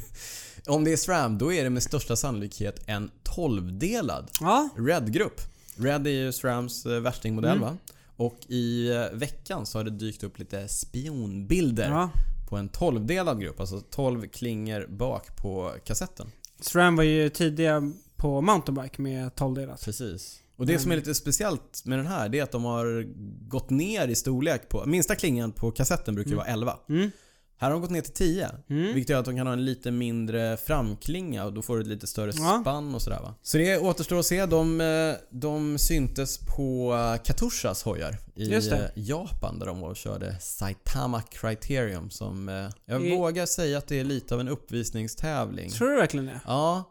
om det är SRAM, då är det med största sannolikhet en 12-delad
Ja.
Red-grupp. Red är ju SRAMs eh, värstingmodell va? Och i eh, veckan så har det dykt upp lite spionbilder
ja.
på en 12-delad grupp. Alltså 12 klingor bak på kassetten.
SRAM var ju tidiga på mountainbike med 12 delat.
Precis. Och det som är lite speciellt med den här det är att de har gått ner i storlek på... Minsta klingan på kassetten brukar ju vara 11.
Mm.
Här har de gått ner till 10.
Mm.
Vilket gör att de kan ha en lite mindre framklinga och då får du ett lite större
Ja.
spann och sådär va. Så det återstår att se. De, eh, de syntes på eh, Katoshas hojar i
Just det.
eh, Japan där de var och körde Saitama Criterium som... eh, Jag
I-
vågar säga att det är lite av en uppvisningstävling.
Tror du verkligen det?
Ja.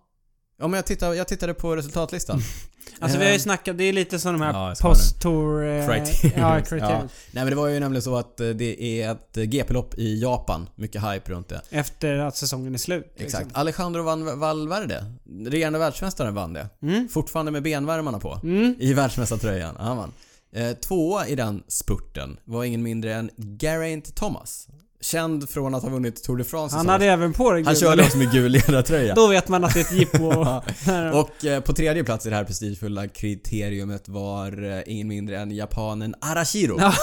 Ja men jag tittade, jag tittade på resultatlistan.
Alltså vi har ju
Ehm.
snackat, det är lite som de här
Ja, jag ska
post-tour... eh,
Criterion.
Ja, criterion.
Nej men det var ju nämligen så att eh, det är ett eh, GP-lopp i Japan. Mycket hype runt det.
Efter att säsongen är slut.
Exakt.
Liksom.
Alejandro Van Valverde, regerande världsmästaren, vann det.
Mm.
Fortfarande med benvärmarna på.
Mm.
I världsmästartröjan. Ja, man. Eh, tvåa i den spurten var ingen mindre än Geraint Thomas. Känd från att ha vunnit Tour de France
Han
säsongen.
hade även på det
Han
gula.
körde också med gul ledartröja.
Då vet man att det är ett jippo.
Ja.
Där.
Och eh, på tredje plats i det här prestigefulla kriteriumet var eh, ingen mindre än japanen Arashiro.
Ja,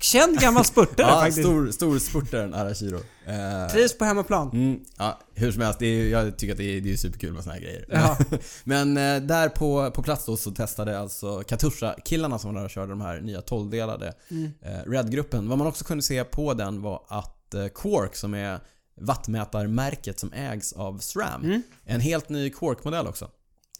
Känd gammal spurtare
Ja,
faktiskt.
stor, stor spurtaren Arashiro. Eh,
Trivs på hemmaplan.
Mm, ja, hur som helst, det är, ju- jag tycker att det är, det är superkul med såna här grejer.
Ja.
Men eh, där på, på plats då så testade alltså Katusha-killarna som var där och körde de här nya 12-delade
Mm.
eh, Red-gruppen. Vad man också kunde se på den var att eh, Quark som är vattmätarmärket som ägs av SRAM.
Mm.
En helt ny Quark-modell också.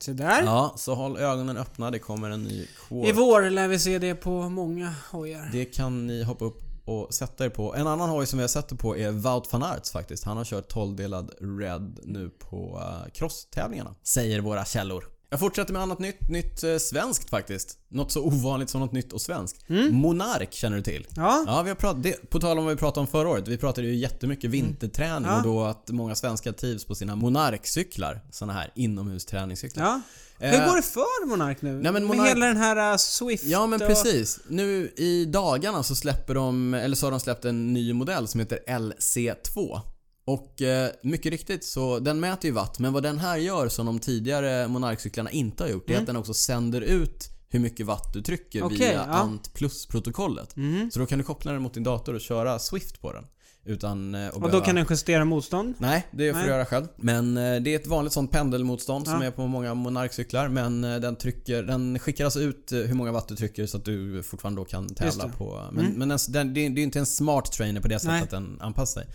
Så där.
Ja, så håll ögonen öppna. Det kommer en ny
I
Quark.
vår lär vi se det på många hojar.
Det kan ni hoppa upp och sätta er på. En annan hoj som vi har sett er på är Wout van Aerts faktiskt. Han har kört 12-delad Red nu på eh, cross-tävlingarna. Säger våra källor. Jag fortsätter med annat nytt. Nytt eh, svenskt faktiskt. Något så ovanligt som något nytt och svenskt.
Mm.
Monark känner du till.
Ja.
Ja, vi har pratat, det, på tal om vad vi pratade om förra året. Vi pratade ju
Mm.
jättemycket vinterträning och då att många svenskar trivs på sina Monark-cyklar. Såna här inomhusträningscyklar.
Ja.
Eh,
Hur går det för Monark nu?
nej, men
Med
Monark-
hela den här äh, Swift
Ja men
och-
precis. Nu i dagarna så släpper de, eller så har de släppt en ny modell som heter LC2. Och eh, mycket riktigt så, den mäter ju watt men vad den här gör som de tidigare Monarkcyklarna inte har gjort det är att den också sänder ut hur mycket watt du trycker
Mm. Okej,
via
ja. Mm.
ANT plus-protokollet. Så då kan du koppla den mot din dator och köra Swift på den. Utan eh, att
Och då
behöva-
kan den justera motstånd.
Nej, det får
Nej.
du göra själv. Men eh, det är ett vanligt sånt pendelmotstånd som
Ja.
är på många Monarkcyklar. Men eh, den, trycker, den skickar alltså ut eh, hur många watt du trycker så att du fortfarande då kan
Just
tävla
det. Mm.
på... eh, Men, men den, den, det är det är ju inte en smart trainer på det sättet
Nej.
att den anpassar sig.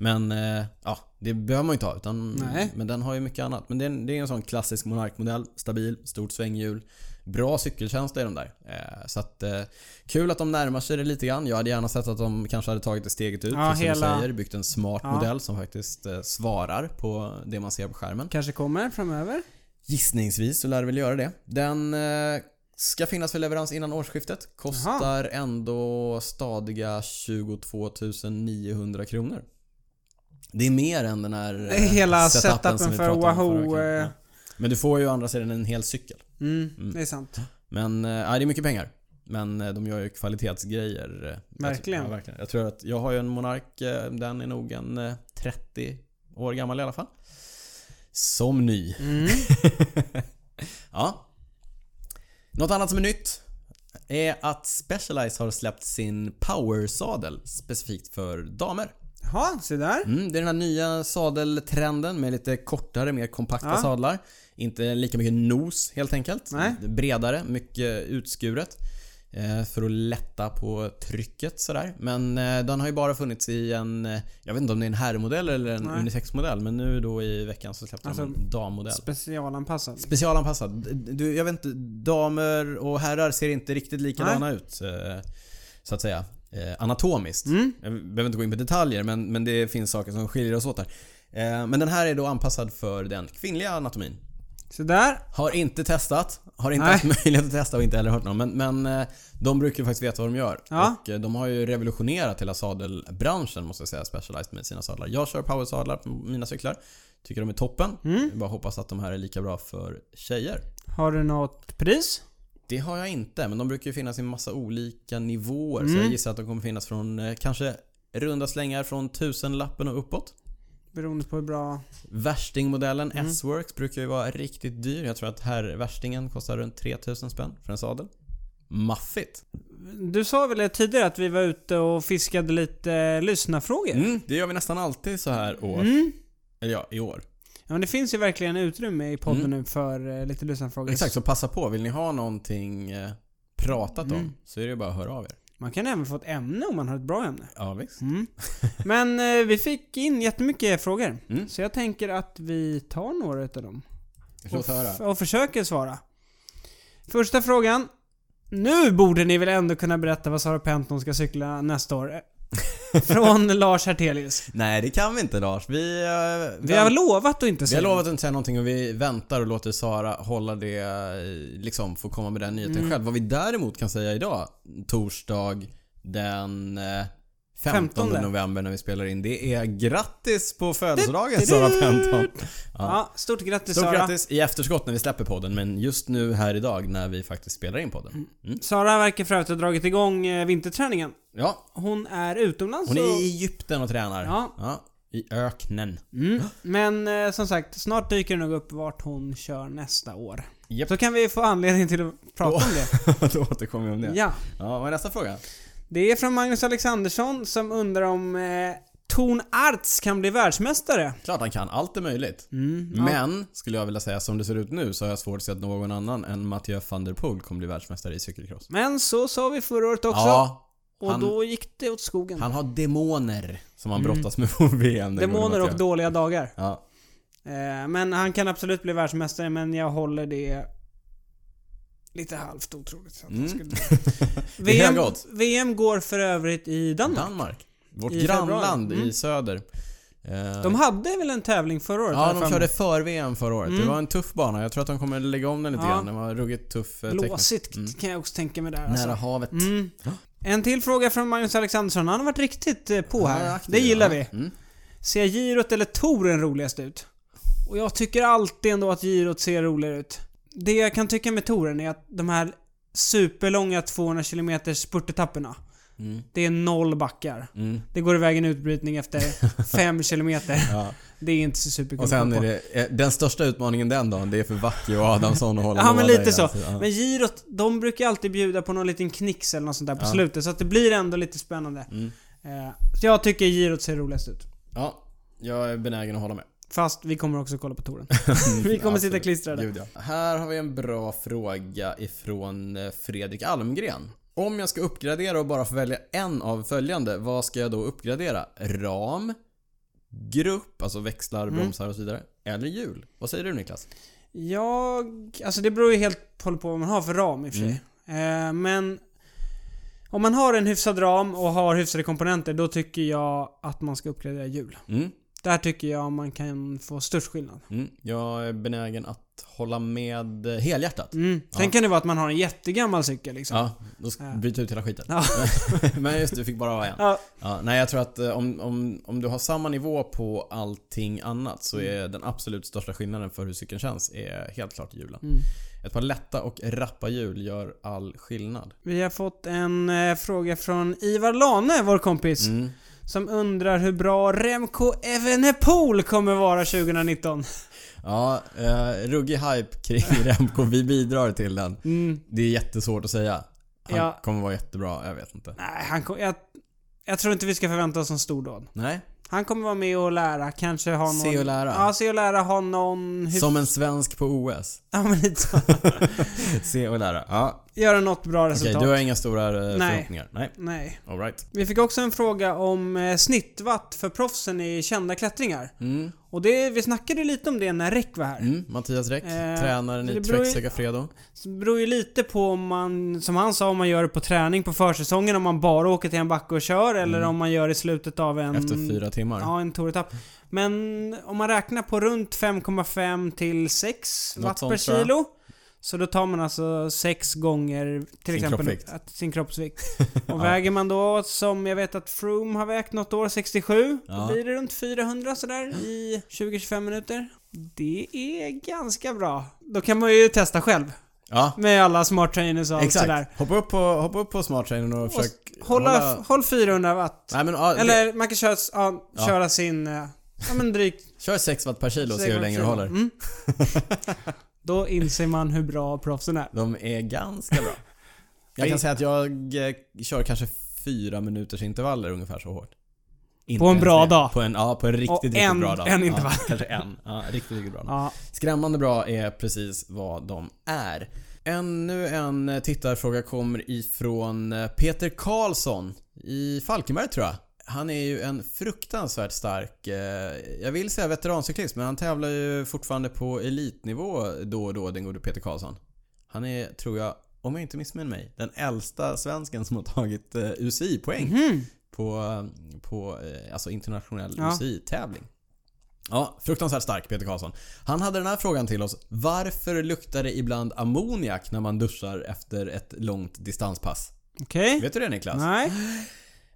Men eh, ja, det behöver man ju inte ha. Utan,
Nej.
Men den har ju mycket annat. Men det är en, det är en sån klassisk Monark-modell. Stabil, stort svänghjul. Bra cykeltjänst är de där. Eh, så att, eh, kul att de närmar sig det lite grann. Jag hade gärna sett att de kanske hade tagit det steget ut.
Ja,
precis som du
hela-
säger säger, byggt en smart
Ja.
modell som faktiskt eh, svarar på det man ser på skärmen.
Kanske kommer framöver.
Gissningsvis så lär det väl göra det. Den eh, ska finnas för leverans innan årsskiftet. Kostar ändå stadiga 22 900 kronor. Det är mer än den här eh,
Det är hela
som
setupen
vi
för
pratade om förra
Wahoo.
veckan.
eh,
Ja. Men du får ju å andra sidan en hel cykel.
Mm, det är sant.
Men eh, ja, det är mycket pengar. Men eh, de gör ju kvalitetsgrejer. eh, jag-
Verkligen.
Ja, verkligen. Jag tror att jag har ju en Monark. eh, Den är nog en eh, 30 år gammal i alla fall. Som ny.
Mm.
Ja. Något annat som är nytt är att Specialized har släppt sin Power-sadel specifikt för damer.
Ja, se där.
Mm, det är den här nya sadeltrenden med lite kortare, mer kompakta
Ja.
sadlar. Inte lika mycket nos helt enkelt.
Nej.
Bredare, mycket utskuret. eh, För att lätta på trycket sådär. Men eh, den har ju bara funnits i en, eh, jag vet inte om det är en herrmodell eller en
Nej.
unisexmodell. Men nu då i veckan så släppte
Alltså,
de en dammodell.
Specialanpassad.
Specialanpassad. D- Du, jag vet inte, damer och herrar ser inte riktigt likadana ut. eh, Så att säga. eh, Anatomiskt.
Mm.
Jag behöver inte gå in på detaljer men, men det finns saker som skiljer oss åt där. Eh, Men den här är då anpassad för den kvinnliga anatomin.
Se där.
Har inte testat. Har inte
Nej.
haft möjlighet att testa och inte heller hört någon. Men, men eh, de brukar ju faktiskt veta vad de gör.
Ja.
Och eh, de har ju revolutionerat hela sadelbranschen måste jag säga, Specialized med sina sadlar. Jag kör powersadlar på mina cyklar. Tycker de är toppen.
Mm.
Jag bara hoppas att de här är lika bra för tjejer.
Har du något pris?
Det har jag inte, men de brukar ju finnas i massa olika nivåer. Så jag gissar att de kommer finnas från eh, kanske runda slängar från tusenlappen och uppåt.
Beroende på hur bra...
Värstingmodellen S-Works brukar ju vara riktigt dyr. Jag tror att här värstingen kostar runt 3000 spänn för en sadel. Maffigt.
Du sa väl tidigare att vi var ute och fiskade lite eh, lyssnarfrågor?
Mm, det gör vi nästan alltid så här år.
Mm.
Eller ja, i år.
Ja, men det finns ju verkligen utrymme i podden nu för eh, lite lyssnarfrågor.
Mm. Exakt, så passa på. Vill ni ha någonting eh, pratat om så är det ju bara att höra av er.
Man kan även få ett ämne om man har ett bra ämne.
Ja, visst.
Men eh, vi fick in jättemycket frågor.
Mm.
Så jag tänker att vi tar några utav dem.
Låt höra.
f- och försöker svara. Första frågan. Nu borde ni väl ändå kunna berätta vad Sara Penton ska cykla nästa år? Från Lars Hertelius.
Nej, det kan vi inte Lars. Vi, eh,
Vi har
vänt-
lovat att inte
Vi
säga
har lovat att inte säga någonting och vi väntar och låter Sara hålla det, eh, liksom få komma
Mm.
med den nyheten själv. Vad vi däremot kan säga idag, torsdag den eh, 15
15.
november när vi spelar in. Det är grattis på födelsedagen Sara Penton! Ja.
Ja, stort grattis
Stort
Sara.
grattis i efterskott när vi släpper podden, men just nu här idag när vi faktiskt spelar in podden. Mm.
Sara verkar för övrigt ha dragit igång eh, vinterträningen.
Ja,
Hon är utomlands
hon är
och-
i Egypten och tränar.
Ja.
I öknen.
Mm. Men eh, som sagt, snart dyker det nog upp vart hon kör nästa år.
Japp.
Så kan vi få anledning till att prata om det.
Då återkommer vi om det.
Ja.
Ja, vad är nästa fråga?
Det är från Magnus Alexandersson som undrar om eh, Torn Arts kan bli världsmästare.
Klart han kan, allt är möjligt.
Mm, ja.
Men, skulle jag vilja säga, som det ser ut nu så har jag svårt att se att någon annan än Mathieu van der Poel kommer bli världsmästare i cykelcross.
Men så sa vi förra året också.
Ja,
och
han-
då gick det åt skogen.
han har demoner som han brottas med på VM. den gode
Mm. Demoner och
Mathieu.
dåliga dagar.
Ja.
Eh, men han kan absolut bli världsmästare, men jag håller det lite halvt otroligt. Att han
Mm.
skulle...
Det är
VM,
höga odds.
VM går för övrigt i Danmark.
Danmark. Vårt
I februari.
grannland
Mm.
i söder. Eh,
De hade väl en tävling förra året? har
ja,
jag
de
för
körde
mig.
för-VM förra året.
Mm.
Det var en tuff bana. Jag tror att de kommer lägga om den lite
Ja.
grann. Den var ruggigt tuff eh, tekniskt.
Blåsigt kan jag också tänka mig där.
Nära
Alltså.
havet.
Mm.
Ja.
En till fråga från Magnus Alexandersson. Han har varit riktigt eh, på
Ja,
här.
aktiv,
Det gillar
ja.
vi.
Mm.
Ser girot eller touren roligast ut? Och jag tycker alltid ändå att girot ser roligare ut. Det jag kan tycka med touren är att de här superlånga 200 km spurtetapperna.
Mm.
Det är noll backar.
Mm.
Det går iväg en utbrytning efter 5 km.
Ja.
Det är inte så superkul
Och
att kolla
sen
på.
är det, eh, den största utmaningen den dagen, det är för Backe och Adamsson att hålla
Ja men
båda i
lite så.
hans- alltså, ja.
Men girot, de brukar ju alltid bjuda på någon liten knix eller något sånt där på
Ja.
slutet. Så att det blir ändå lite spännande.
Mm.
Eh, Så jag tycker girot ser roligast ut.
ja, jag är benägen att hålla med.
Fast vi kommer också kolla på touren. vi kommer sitta
Absolut.
klistrade.
Gud, ja. Här har vi en bra fråga ifrån eh, Fredrik Almgren. Om jag ska uppgradera och bara få välja en av följande, vad ska jag då uppgradera? Ram, grupp, alltså växlar,
Mm.
bromsar och så vidare. Eller hjul? Vad säger du Niklas?
Jag... Alltså det beror ju helt på vad man har för ram i och för sig.
Mm.
Eh, Men... Om man har en hyfsad ram och har hyfsade komponenter, då tycker jag att man ska uppgradera hjul.
Mm,
Där tycker jag man kan få störst skillnad.
mm. Jag är benägen att hålla med eh, helhjärtat.
Mm. Sen
Ja.
kan det vara att man har en jättegammal cykel liksom.
Ja, då ska
Ja.
byta ut hela skiten.
Ja.
Men just det, du fick bara ha en.
Ja.
Ja, nej, jag tror att eh, om, om, om du har samma nivå på allting annat så är den absolut största skillnaden för hur cykeln känns är helt klart hjulen.
Mm.
Ett par lätta och rappa hjul gör all skillnad.
Vi har fått en eh, fråga från Ivar Lane, vår kompis,
Mm.
som undrar hur bra Remco Evenepoel kommer vara 2019.
Ja, eh, ruggig hype kring Remco. Vi bidrar till den.
Mm.
Det är jättesvårt att säga. Han
Ja.
kommer vara jättebra, jag vet inte.
Nej, han kom, jag, jag tror inte vi ska förvänta oss en stor dåd.
Nej,
Han kommer vara med och lära, kanske ha någon...
se och lära.
Ja, se och lära, ha någon... Hur,
Som en svensk på OS.
ja, men lite så.
se och lära. Ja.
Göra något bra
Okej,
resultat.
du har inga stora eh,
Nej.
förhoppningar? Nej.
Nej.
Alright.
Vi fick också en fråga om eh, snittwatt för proffsen i kända klättringar.
Mm.
Och det, vi snackade lite om det när Räck var här.
Mm, Mattias Räck,
Eh,
tränaren
det
i
beror ju-
Trek Segafredo.
Så det beror ju lite på om man, som han sa, om man gör det på träning på försäsongen, om man bara åker till en backe och kör eller om man gör det i slutet av en...
Mm. Efter fyra timmar.
Ja, en touretapp. Men om man räknar på runt 5,5 till 6
Något
watt per
sånt, tror jag.
kilo. Så då tar man alltså 6 gånger till
Sin
exempel
kroppsvikt.
Att, sin kroppsvikt. Och väger man då, som jag vet att Froome har vägt något år, 67.
Ja.
Då blir det runt 400 sådär i 20-25 minuter. Det är ganska bra. Då kan man ju testa själv.
Ja,
Med alla smart trainers och allt
exakt.
sådär.
Hoppa upp på, hoppa upp på smarttrainern och,
Och
försök
hålla, håll 400 watt.
Nej men ja, det-
Eller man kan köra, ja,
Ja.
köra sin, eh, ja men drygt
kör 6 watt per kilo och se hur länge du
Segment
håller.
Mm. Då inser man hur bra proffsen är.
De är ganska bra. Jag kan säga att jag eh, kör kanske fyra minuters intervaller ungefär så hårt. Inte
en
ens
bra
det.
dag.
På en, ja, på en riktigt,
Och
riktigt
en-
bra dag.
en
Ja,
intervall.
kanske en. Ja, riktigt, riktigt bra dag.
Ja.
Skrämmande bra är precis vad de är. Ännu en eh, tittarfråga kommer ifrån eh, Peter Karlsson i Falkenberg tror jag. Han är ju en fruktansvärt stark, eh, jag vill säga veterancyklist, men han tävlar ju fortfarande på elitnivå då och då, den gode Peter Karlsson. Han är, tror jag, om jag inte missminner mig, den äldsta svensken som har tagit eh, UCI-poäng
Mhm.
på, eh, på eh, alltså internationell
Ja.
UCI-tävling. Ja, fruktansvärt stark Peter Karlsson. Han hade den här frågan till oss. Varför luktar det ibland ammoniak när man duschar efter ett långt distanspass?
Okej.
alltså. Vet du det Niklas?
Nej.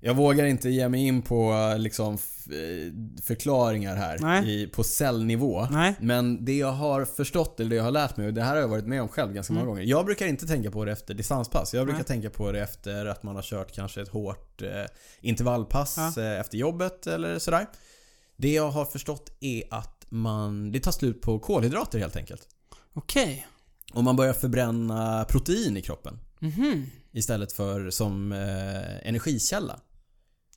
Jag vågar inte ge mig in på liksom f- eh, förklaringar här
Nej.
i, på cellnivå.
Nej.
Men det jag har förstått eller det jag har lärt mig och det här har jag varit med om själv ganska många gånger. Jag brukar inte tänka på det efter distanspass. Jag brukar
Mm. Nej.
tänka på det efter att man har kört kanske ett hårt eh, intervallpass
Ja.
eh, efter jobbet eller sådär. Det jag har förstått är att man, det tar slut på kolhydrater helt enkelt.
Okej.
Och man börjar förbränna protein i kroppen
Mhm.
istället för som eh, energikälla.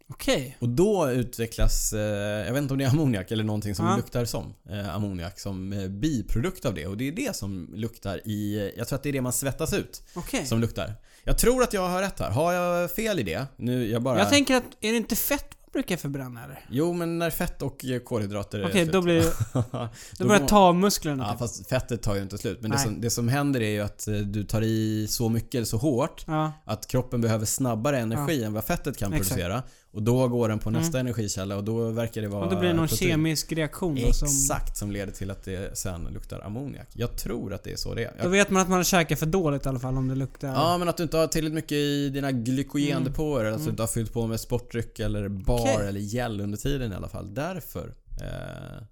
Okej.
Och då utvecklas, eh, jag vet inte om det är ammoniak eller någonting som
Ja.
luktar som eh, ammoniak som eh, biprodukt av det. Och det är det som luktar i, eh, jag tror att det är det man svettas ut
Okej.
som luktar. Jag tror att jag har rätt här. Har jag fel i det? Nu, jag bara...
Jag tänker att, är det inte fett man brukar förbränna eller?
Jo, men när fett och eh, kolhydrater är
Okej,
slut.
då blir det...
då
Då börjar
går-
ta musklerna.
Ja,
typ.
fast fettet tar ju inte slut. Men det
Nej.
som, det som händer är ju att eh, du tar i så mycket, så hårt
ja.
Att kroppen behöver snabbare energi än vad fettet kan
Exakt. Mm.
producera. Och då går den på nästa energikälla och då verkar det vara
Och då blir det någon
protein.
kemisk reaktion då som...
Exakt, som leder till att det sen luktar ammoniak. Jag tror att det är så det är.
Då
Jag,
vet man att man har käkat för dåligt i alla fall om det luktar...
ja, men att du inte har tillräckligt mycket i dina glykogendepåer. Att du inte har fyllt på med sportdryck eller bar
Mm. Okej.
eller gel under tiden i alla fall. Därför eh,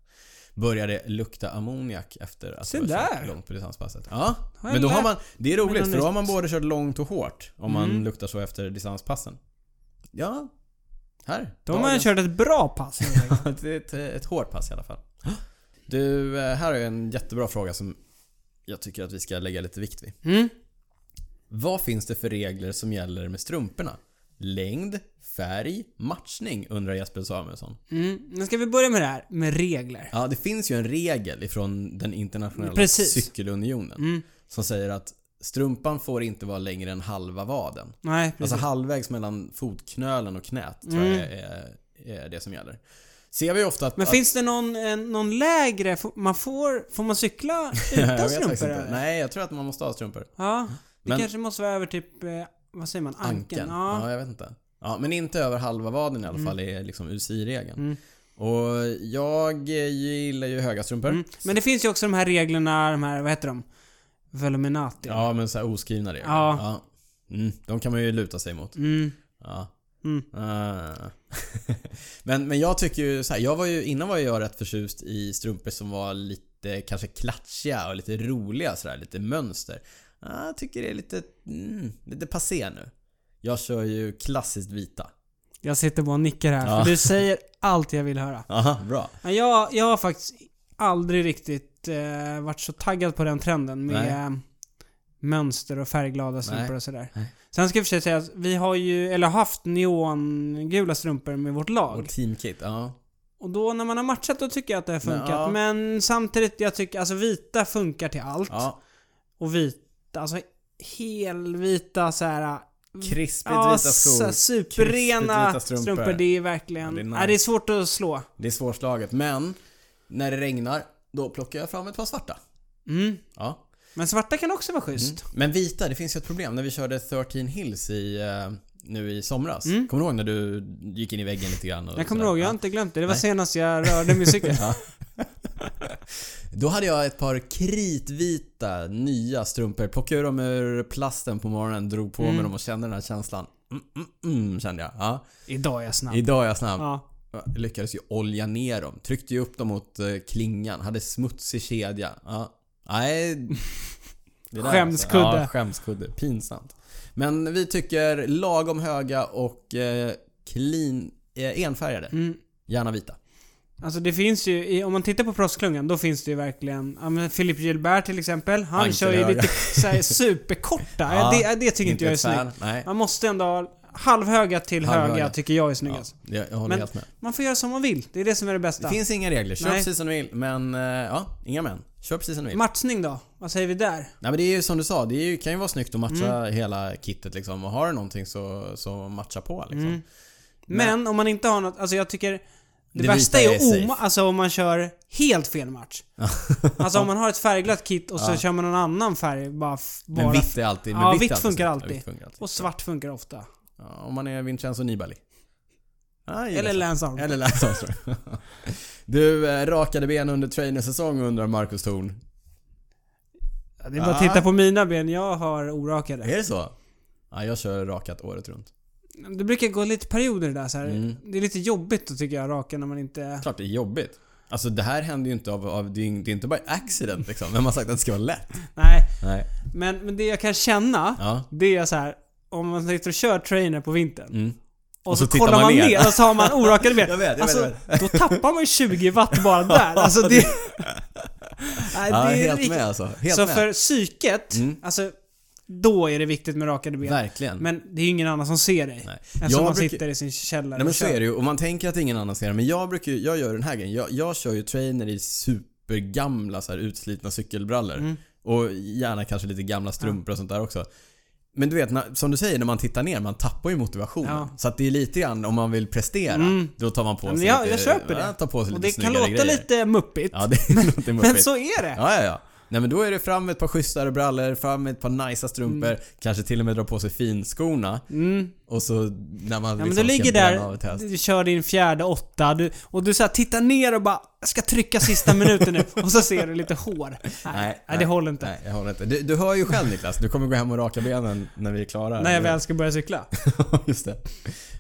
börjar det lukta ammoniak efter att
Se
du har
där.
kört långt på distanspasset. Ja,
Har jag
men då har
lärt
man... Det är
mig
roligt
något
för då har
nytt.
man både kört långt och hårt. Om man
Mm.
luktar så efter distanspassen. Ja. Här.
Då har man
dagens-
kört ett bra pass Mm, helt enkelt.
det är ett, ett hårt pass i alla fall. Du, eh, här är en jättebra fråga som jag tycker att vi ska lägga lite vikt vid.
mm.
Vad finns det för regler som gäller med strumporna? Längd, färg, matchning undrar Jesper Samuelsson.
Mm. Nu ska vi börja med det här med regler.
Ja, det finns ju en regel ifrån den internationella
Precis.
cykelunionen
Mm.
som säger att strumpan får inte vara längre än halva vaden.
Nej, precis. Mm.
Alltså halvvägs mellan fotknölen och knät tror jag är, är det som gäller. Ser vi ofta att...
Men
att-
finns det någon, en, någon lägre? Får man, får, får man cykla utan strumpor eller?
Nej, jag tror att man måste ha strumpor.
Ja, det
Men-
kanske måste vara över typ, eh, vad säger man? Ankeln?
Ankeln. Ja.
Ja. Mm.
jag vet inte. Ja, men inte över halva vaden i alla fall är liksom UCI-regeln. Och jag gillar ju höga strumpor.
Mm. Men det finns ju också de här reglerna, de här, vad heter de? Veluminati.
Ja, men så här oskrivna regler.
Ja.
Ja. Mm, de kan man ju luta sig mot.
Mm.
Ja.
Mm.
Ah. men, men jag tycker ju så här, jag var ju, innan var jag rätt förtjust i strumpor som var lite kanske klatschiga och lite roliga sådär, lite mönster. Ah, jag tycker det är lite, mm, lite passé nu. Jag kör ju klassiskt vita.
Jag sitter bara och nickar här,
Ja.
för du säger allt jag vill höra.
Aha, bra.
Men jag, jag har faktiskt aldrig riktigt eh, varit så taggad på den trenden med eh, mönster och färgglada strumpor
Nej.
och sådär.
Nej.
Sen ska jag för sig säga att vi har ju, eller har haft neongula strumpor med vårt lag.
Och teamkit, ja.
Och då när man har matchat då tycker jag att det har funkat.
Men, ja.
Men samtidigt, jag tycker alltså vita funkar till allt.
ja.
Och vita, alltså helvita så här.
Krispigt
Ja,
vita skor.
så- superrena
krispigt vita
strumpor.
strumpor.
Det är verkligen...
Ja, det är
det, är
nice.
det är svårt att slå.
Det är svårslaget, men när det regnar, då plockar jag fram ett par svarta.
Mm.
Ja.
Men svarta kan också vara schysst.
Men vita, det finns ju ett problem. När vi körde 13 Hills i, eh, nu i somras. Kommer du ihåg när du gick in i väggen lite grann? Och
Mm. Jag kommer
sådär?
ihåg, jag har inte glömt det. Det var senast jag rörde min cykel.
Ja. Då hade jag ett par kritvita nya strumpor. Plockade ur dem ur plasten på morgonen, drog
Mm.
på mig dem och kände den här känslan. Mm, mm, mm, kände jag. Ja.
Idag är jag snabb.
Idag är jag snabb.
Ja.
Jag lyckades ju olja ner dem. Tryckte ju upp dem mot eh, klingan. Hade smutsig kedja. Ja. Nej. Det där
Skämskudde.
alltså. Ja, skämskudde. Pinsamt. Men vi tycker lagom höga och eh, clean, eh, enfärgade.
Mm.
Gärna vita.
Alltså det finns ju, i- om man tittar på proffsklungan, då finns det ju verkligen, ja men Philip Gilbert till exempel, han
Ankeln
kör ju
höger.
lite såhär superkorta.
Ja,
ja, det, det tycker inte jag är
ett fan.
snyggt.
Nej.
Man måste ändå ha halvhöga till
Halvhöga.
höga tycker jag är
Ja,
snyggast.
jag, jag håller
Men-
helt med.
Man får göra som man vill, det är det som är det
Det
bästa.
finns inga regler. Kör
Nej.
precis som du vill. Men eh, ja, inga men. Kör precis som du vill.
Matchning då? Vad säger vi där?
Nej men det är ju som du sa, det är ju, kan ju vara snyggt att matcha
Mm.
hela kittet liksom. Och har du någonting så, så matcha på liksom.
Mm. Men om man inte har något, alltså jag tycker det,
Det
värsta
vita
är,
är
är
safe.
alltså om man kör helt fel match. alltså om man har ett färgglatt kit och så kör man någon annan färg bara... f- bara
Men
f-
vitt är alltid... men
Ja,
vitt är
vitt
alltid
funkar
snyggt. Ja,
alltid.
vitt funkar alltid.
Och svart funkar ofta.
Ja, om man är Vincenzo Nibali. Ah, jag gillar
Eller
så.
Lance Armstrong.
Eller Lance Armstrong. Du, eh, rakade ben under trainersäsong undrar Marcus Thorn.
Ja, Det är bara att
Ja.
titta på mina ben, jag har orakade.
Är det så? Ja, jag kör rakat året runt.
Det brukar gå lite perioder där så här.
Mm.
Det är lite jobbigt då tycker jag, raka när man inte...
Klart det är jobbigt. Alltså det här händer ju inte av, av det är ju- det är inte bara accident liksom. Vem har sagt att det ska vara lätt?
Nej,
Nej.
men, men det jag kan känna,
Ja.
det är så här. Om man sitter och kör trainer på vintern.
Mm.
Och,
Och
så,
så tittar
kollar man,
man
ner.
ner.
och så har man orakade ben.
Jag vet, jag vet,
alltså,
jag
Då tappar man 20 watt bara där. Alltså det... Nej,
Ja, helt
riktigt-
med alltså. Helt
Så
med.
för psyket,
Mm.
alltså då är det viktigt med rakade ben.
Verkligen.
Men det är ju ingen annan som ser dig.
Nej.
Eftersom
Jag
man
brukar-
sitter i sin källare
Nej men
och
så
kör.
är det ju. Och man tänker att ingen annan ser det. Men jag brukar ju, jag gör den här grejen. Jag, jag kör ju trainer i supergamla så här utslitna cykelbrallor.
Mm.
Och gärna kanske lite gamla strumpor och sånt där också. Men du vet, när, som du säger, när man tittar ner, man tappar ju motivationen.
Ja.
Så att det är lite grann, om man vill prestera,
Mm.
då tar man på
Men
sig
jag-
lite,
jag köper det.
ja, Tar på sig
Och
lite
det kan
snyggare
låta
grejer.
lite muppigt.
Ja, det låter
men
muffigt.
så är det.
Ja, ja, ja. Nej men då är det fram med ett par schysstare brallor, fram med ett par najsa strumpor, kanske till och med dra på sig finskorna.
Mm.
Och så när man
Ja, men
liksom
du ligger
ska bränna av
där,
ett häst.
du kör din fjärde åtta du, och du så här, tittar ner och bara jag ska trycka sista minuten nu och så ser du lite hår. Nej, nej, det håller inte.
Nej, jag håller inte. Du, du hör ju själv Niklas, du kommer gå hem och raka benen när vi är klara.
När jag väl ska börja cykla.
Just det.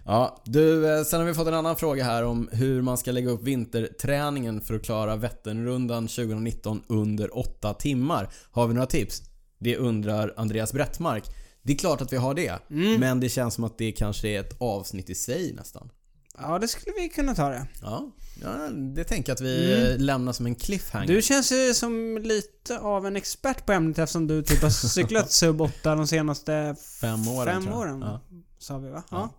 Ja, du, eh, sen har vi fått en annan fråga här om hur man ska lägga upp vinterträningen för att klara Vätternrundan 2019 under 8 timmar. Har vi några tips? Det undrar Andreas Brettmark. Det är klart att vi har det,
Mm.
men det känns som att det kanske är ett avsnitt i sig nästan.
Ja, det skulle vi kunna ta det.
Ja, ja det tänker jag att vi
Mm.
eh, lämnar som en cliffhanger.
Du känns ju som lite av en expert på ämnet eftersom du typ har cyklat sub 8 de senaste
fem åren
fem
tror jag.
åren.
Ja.
Sa vi va? Ja.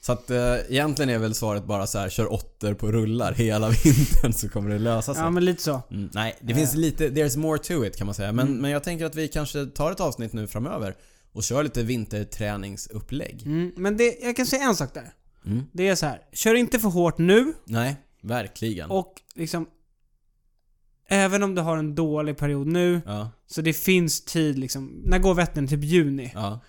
Så att eh, egentligen är väl svaret bara så här: kör åttor på rullar hela vintern så kommer det lösa sig.
ja, Eh. men lite så.
Mm, nej, det finns lite, there's more to it kan man säga. Men,
Mm.
men jag tänker att vi kanske tar ett avsnitt nu framöver och kör lite vinterträningsupplägg.
Mm. Men det, jag kan säga en sak där.
Mm.
Det är så här. kör inte för hårt nu
Nej, verkligen.
och liksom... Även om du har en dålig period nu,
Ja,
så det finns tid liksom. När går Vättern? Typ juni.
ja.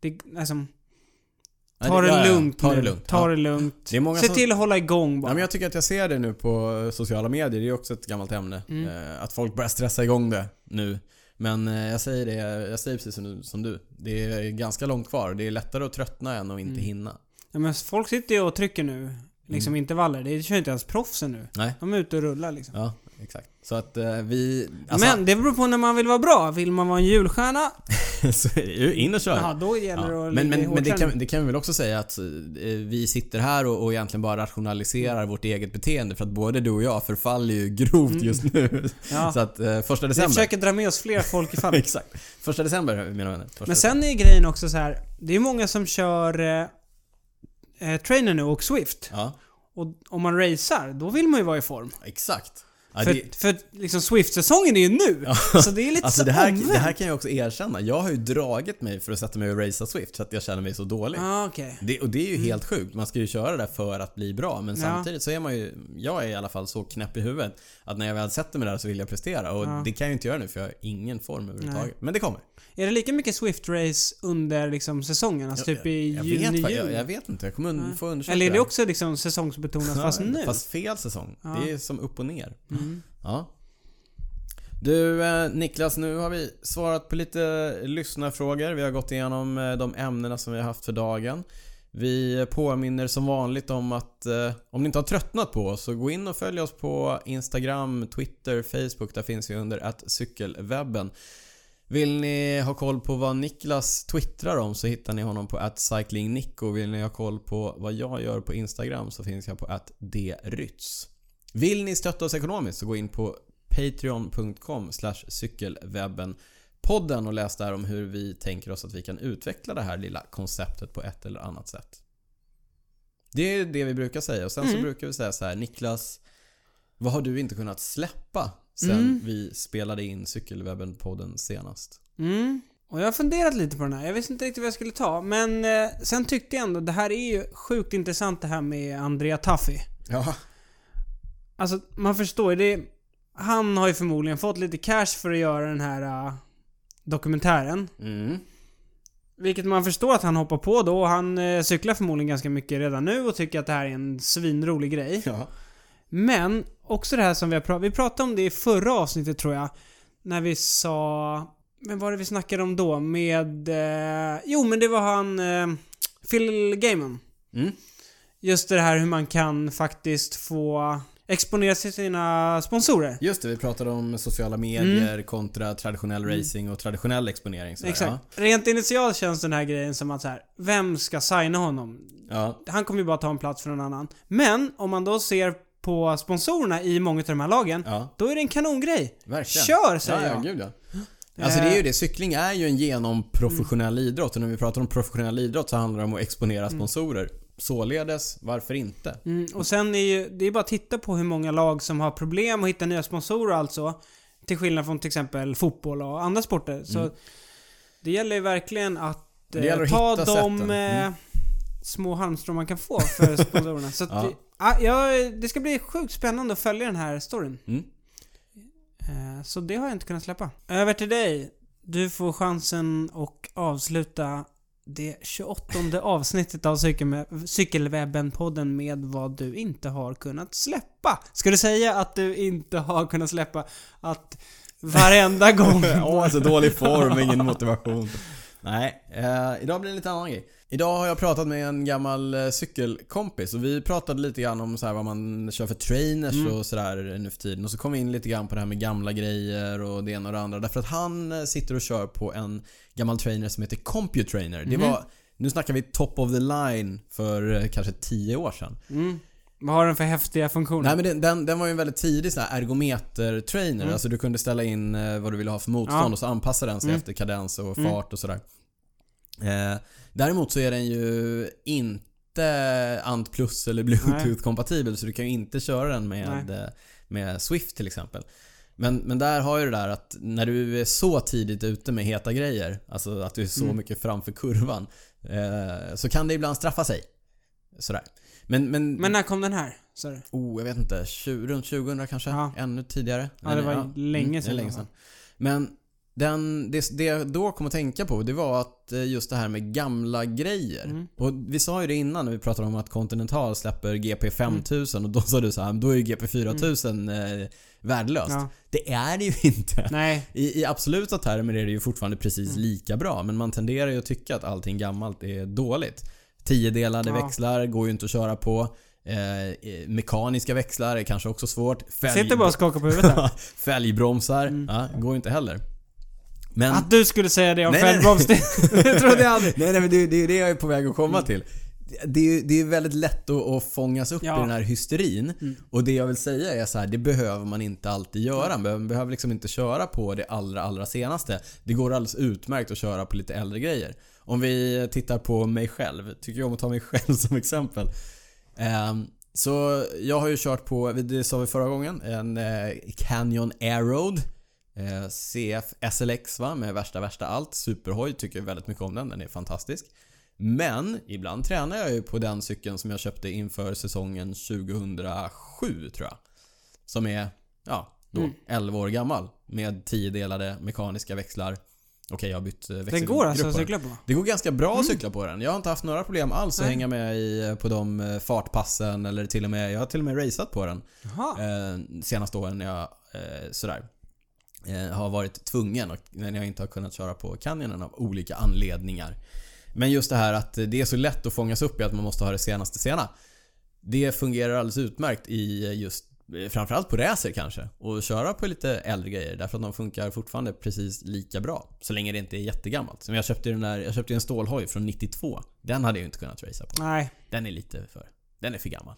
Det, alltså,
Nej,
ta det,
ja, ja,
lugnt
Ta
nu.
det lugnt.
Ta det
Ja.
lugnt.
Det är många
Se
som-
till att hålla igång bara.
Ja, men jag tycker att jag ser det nu på eh, sociala medier, det är också ett gammalt ämne.
Mm.
Eh, Att folk börjar stressa igång det nu. Men eh, jag säger det, jag säger precis som du- som du. Det är ganska långt kvar. Det är lättare att tröttna än att inte
Mm.
hinna.
Ja, men folk sitter ju och trycker nu.
Mm.
Liksom intervaller. Det kör inte ens proffsen nu.
Nej.
De är ute och rullar liksom.
Ja, exakt. Så att eh, vi... Alltså,
men det beror på när man vill vara bra. Vill man vara en julstjärna?
så är det ju in och kör.
Ja, då gäller det
Ja.
att
Men,
ligga i
men, men det,
hårdträning.
kan, det kan vi väl också säga att eh, vi sitter här och, och egentligen bara rationaliserar vårt eget beteende för att både du och jag förfaller ju grovt just nu.
Mm. Ja.
Så att eh, första
Vi
december.
försöker dra med oss fler folk i fallet.
Exakt. Första december mina vänner. Första
Men sen är grejen också så här. Det är många som kör eh, eh, trainer nu och Swift.
Ja,
Och om man racear, då vill man ju vara i form.
exakt. Ja,
för
det,
för liksom Swift-säsongen är ju nu. Så det är lite
alltså
så
det här,
omvänt.
det här kan jag också erkänna. Jag har ju dragit mig för att sätta mig och racea Swift så att jag känner mig så dålig.
Ja, okej.
Det, och det är ju helt sjukt. Man ska ju köra det för att bli bra. Men
Ja.
samtidigt så är man ju, jag är i alla fall så knäpp i huvudet att när jag väl sätter mig där så vill jag prestera. Och det kan jag ju inte göra nu för jag har ingen form överhuvudtaget. Men det kommer.
Är det lika mycket Swift-race under liksom, säsongen? Alltså typ i
jag,
juni,
vet, fa-
juli?
jag, jag vet inte, jag kommer un- få undersöka
Eller är det
här.
också liksom säsongsbetonat fast
Ja,
nu? Mm.
Fast fel säsong. Det är som upp och ner. Ja. Du eh, Niklas, nu har vi svarat på lite lyssnarfrågor. Vi har gått igenom eh, de ämnena som vi har haft för dagen. Vi påminner som vanligt om att eh, om ni inte har tröttnat på oss så gå in och följ oss på Instagram, Twitter, Facebook. Där finns vi under att cykelwebben. Vill ni ha koll på vad Niklas twittrar om så hittar ni honom på att cyclingnico. Vill ni ha koll på vad jag gör på Instagram så finns jag på att drytz. Vill ni stötta oss ekonomiskt så gå in på patreon.com cykelwebben podden och läs där om hur vi tänker oss att vi kan utveckla det här lilla konceptet på ett eller annat sätt. Det är det vi brukar säga och sen så brukar vi säga så här Niklas, vad har du inte kunnat släppa sen vi spelade in cykelwebben podden senast?
Mm. Och jag har funderat lite på den här. Jag visste inte riktigt vad jag skulle ta. Men eh, sen tyckte jag ändå det här är ju sjukt intressant det här med Andrea Taffi.
Ja.
Alltså man förstår ju. det är- Han har ju förmodligen fått lite cash för att göra den här eh, dokumentären.
Mm.
Vilket man förstår att han hoppar på då. Han eh, cyklar förmodligen ganska mycket redan nu och tycker att det här är en svinrolig grej.
Ja.
Men också det här som vi har pratat Vi pratade om det i förra avsnittet tror jag. När vi sa... Men vad var det vi snackade om då? Med... Eh, jo men det var han... Eh, Phil Gaiman.
Mm.
Just det här hur man kan faktiskt få exponera sig till sina sponsorer.
Just det, vi pratade om sociala medier kontra traditionell racing och traditionell exponering. sådär,
Mm. Exakt.
ja.
Rent initialt känns den här grejen som att så här, vem ska signa honom?
Ja.
Han kommer ju bara ta en plats för någon annan. Men om man då ser på sponsorerna i många av de här lagen,
Ja,
då är det en kanongrej.
verkligen.
Kör, säger
ja, ja,
jag. Eh.
Gud, ja. Alltså det är ju det, cykling är ju en genomprofessionell
Mm.
idrott och när vi pratar om professionell idrott så handlar det om att exponera sponsorer. Således, varför inte?
Mm, och sen är ju, det är bara att titta på hur många lag som har problem att hitta nya sponsorer alltså. Till skillnad från till exempel fotboll och andra sporter. Så det gäller ju verkligen att
Mm.
eh,
Det gäller att
ta
hitta
de
sätten.
eh,
Mm.
små halmstrån man kan få för sponsorerna. Så att
Ja.
det, ah, ja, det ska bli sjukt spännande att följa den här storyn.
Mm.
Eh, så det har jag inte kunnat släppa. Över till dig. Du får chansen att avsluta det 28 avsnittet av Cykel- Cykelwebben-podden med vad du inte har kunnat släppa. Ska du säga att du inte har kunnat släppa att varenda gång...
Åh, så dålig form, ingen motivation. Nej, eh, idag blir det en lite annan grej. Idag har jag pratat med en gammal eh, cykelkompis och vi pratade lite grann om så här vad man kör för trainers och sådär nu för tiden. Och så kom vi in lite grann på det här med gamla grejer och det ena och det andra. Därför att han eh, sitter och kör på en gammal trainer som heter CompuTrainer. Det var, nu snackar vi top of the line för eh, kanske 10 år sedan.
Mm. Vad har den för häftiga funktioner?
Nej men den, den, den var ju en väldigt tidig sån här ergometer-trainer. Alltså du kunde ställa in eh, vad du ville ha för motstånd
Ja.
och så anpassa den sig efter kadens och fart och sådär. Eh, däremot så är den ju inte Ant Plus eller Bluetooth-kompatibel så du kan ju inte köra den med, eh, med Swift till exempel. Men, men där har ju det där att när du är så tidigt ute med heta grejer, alltså att du är så mycket framför kurvan, eh, så kan det ibland straffa sig. Sådär. Men, men,
Men när kom den här? sa du?
Oh, jag vet inte. 20, runt 2000 kanske?
Ja.
Ännu tidigare?
Ja, det var länge
Mm, det är
sedan alltså. i
länge
alla fall.
sedan. Men den, det, det jag då kom att tänka på det var att eh, just det här med gamla grejer.
Mm.
Och vi sa ju det innan när vi pratade om att Continental släpper
Mm.
GP 5000 och då sa du så här, då är ju GP 4000 eh, värdelöst.
Mm. Ja.
Det är det ju inte.
Nej.
I, I absoluta termer är det ju fortfarande precis
Mm.
lika bra men man tenderar ju att tycka att allting gammalt är dåligt. Tiodelade
Ja.
växlar går ju inte att köra på. Eh, eh, mekaniska växlar är kanske också svårt. Fälg,
Sitter bara och Mm. skakar på huvudet här.
Fälgbromsar ja, går ju inte heller. Men,
Att du skulle säga det om
Nej, nej, nej.
Fällbroms, det det trodde jag Mm. aldrig.
nej, nej, men det, det är ju det jag är på väg att komma till. Det är ju det är väldigt lätt att, att fångas upp
Ja.
i den här hysterin. Och det jag vill säga är så här, det behöver man inte alltid göra. Man behöver liksom inte köra på det allra, allra senaste. Det går alldeles utmärkt att köra på lite äldre grejer. Om vi tittar på mig själv, tycker jag om att ta mig själv som exempel. Ehm, så jag har ju kört på, det sa vi förra gången, en eh, Canyon Aeroad. Eh, CF SLX va, med värsta värsta allt. Superhoj, tycker väldigt mycket om den. Den är fantastisk. Men ibland tränar jag ju på den cykeln som jag köpte inför säsongen 2007 tror jag. Som är, ja, då
Mm.
11 år gammal. Med 10 delade mekaniska växlar. Okej, jag har bytt eh,
Den
växelgrupp
går alltså
på
att
den.
cykla på?
Det går ganska bra att cykla på den. Jag har inte haft några problem alls att
Nej.
hänga med i, på de eh, fartpassen eller till och med, jag har till och med raceat på den
Jaha.
eh, senaste åren när jag eh, sådär eh, har varit tvungen och när jag inte har kunnat köra på Canyonen av olika anledningar. Men just det här att det är så lätt att fångas upp i att man måste ha det senaste sena. Det fungerar alldeles utmärkt i just eh, Framförallt på racer kanske och köra på lite äldre grejer därför att de funkar fortfarande precis lika bra. Så länge det inte är jättegammalt. Som jag köpte ju den där, jag köpte ju en stålhoj från 92. Den hade jag ju inte kunnat racea på.
Nej.
Den är lite för... Den är för gammal.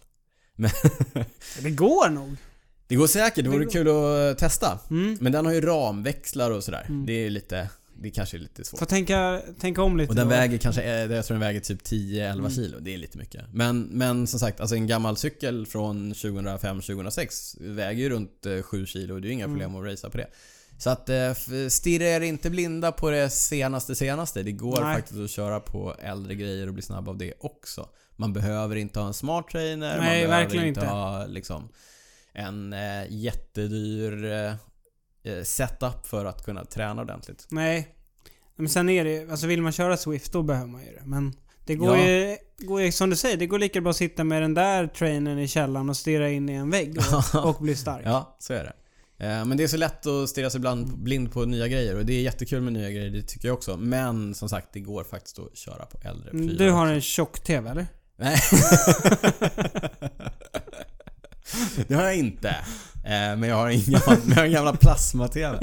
Det går nog.
Det går säkert, det vore
går.
kul att testa.
Mm.
Men den har ju ramväxlar och sådär. Det är lite, det kanske är lite svårt.
Får tänka, tänka om lite
Och den
då.
väger kanske, eh, jag tror den väger typ 10-11
Mm.
kilo. Det är lite mycket. Men, men som sagt, alltså en gammal cykel från 2005-2006 väger ju runt eh, 7 kilo. Det är ju
Mm.
inga problem att racea på det. Så att eh, f- stirra er inte blinda på det senaste senaste. Det går
Nej.
faktiskt att köra på äldre grejer och bli snabb av det också. Man behöver inte ha en smart trainer. man
Nej,
behöver
verkligen
inte.
inte.
ha liksom, en eh, jättedyr eh, eh, setup för att kunna träna ordentligt.
Nej. Men sen är det ju- alltså vill man köra Swift då behöver man ju det. Men det går
Ja.
ju, går ju, som du säger, det går lika bra att sitta med den där trainern i källaren och stirra in i en vägg och, och bli stark.
Ja, så är det. Eh, Men det är så lätt att stirra sig ibland blind på nya grejer och det är jättekul med nya grejer, det tycker jag också. Men som sagt, det går faktiskt att köra på äldre prylar.
Mm, Du har en tjock-TV eller?
Nej. det har jag inte. Eh, Men jag har en gammal, men jag har en gammal plasma-TV.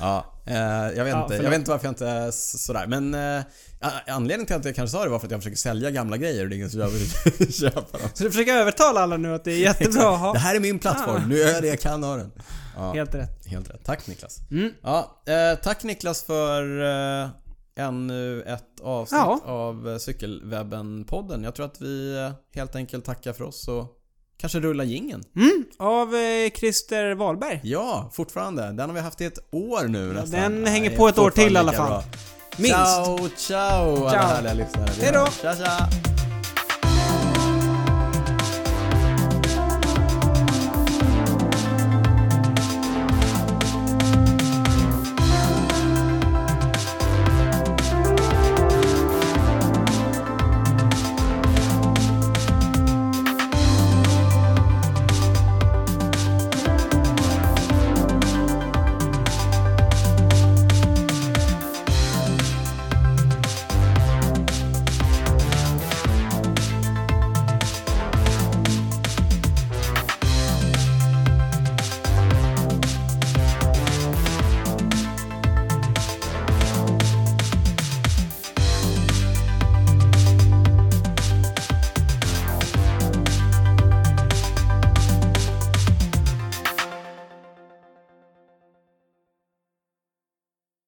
Ja, eh, jag, vet
Ja,
inte, jag
förlåt.
vet inte varför jag inte är s- sådär. Men eh, a- anledningen till att jag kanske sa det var för att jag försöker sälja gamla grejer och det är ingen som jag vill köpa dem.
Så du försöker övertala alla nu att det är jättebra att
Det
ha?
här är min plattform, nu gör jag det jag kan av den. Ja.
Helt rätt.
Helt rätt. Tack Niklas.
Mm.
Ja, eh, tack Niklas för eh, ännu ett avsnitt
Ja.
av eh, Cykelwebben-podden. Jag tror att vi eh, helt enkelt tackar för oss och kanske rullar gingen.
Mm, av eh, Christer Wahlberg.
Ja, fortfarande. Den har vi haft i ett år nu nästan.
den
Nej,
hänger på ett år
fortfarande
till i alla
lika
fall.
bra.
Minst.
Ciao, ciao alla
Ciao.
härliga lyssnare. Vi
Hej då.
hörs. Tja, tja.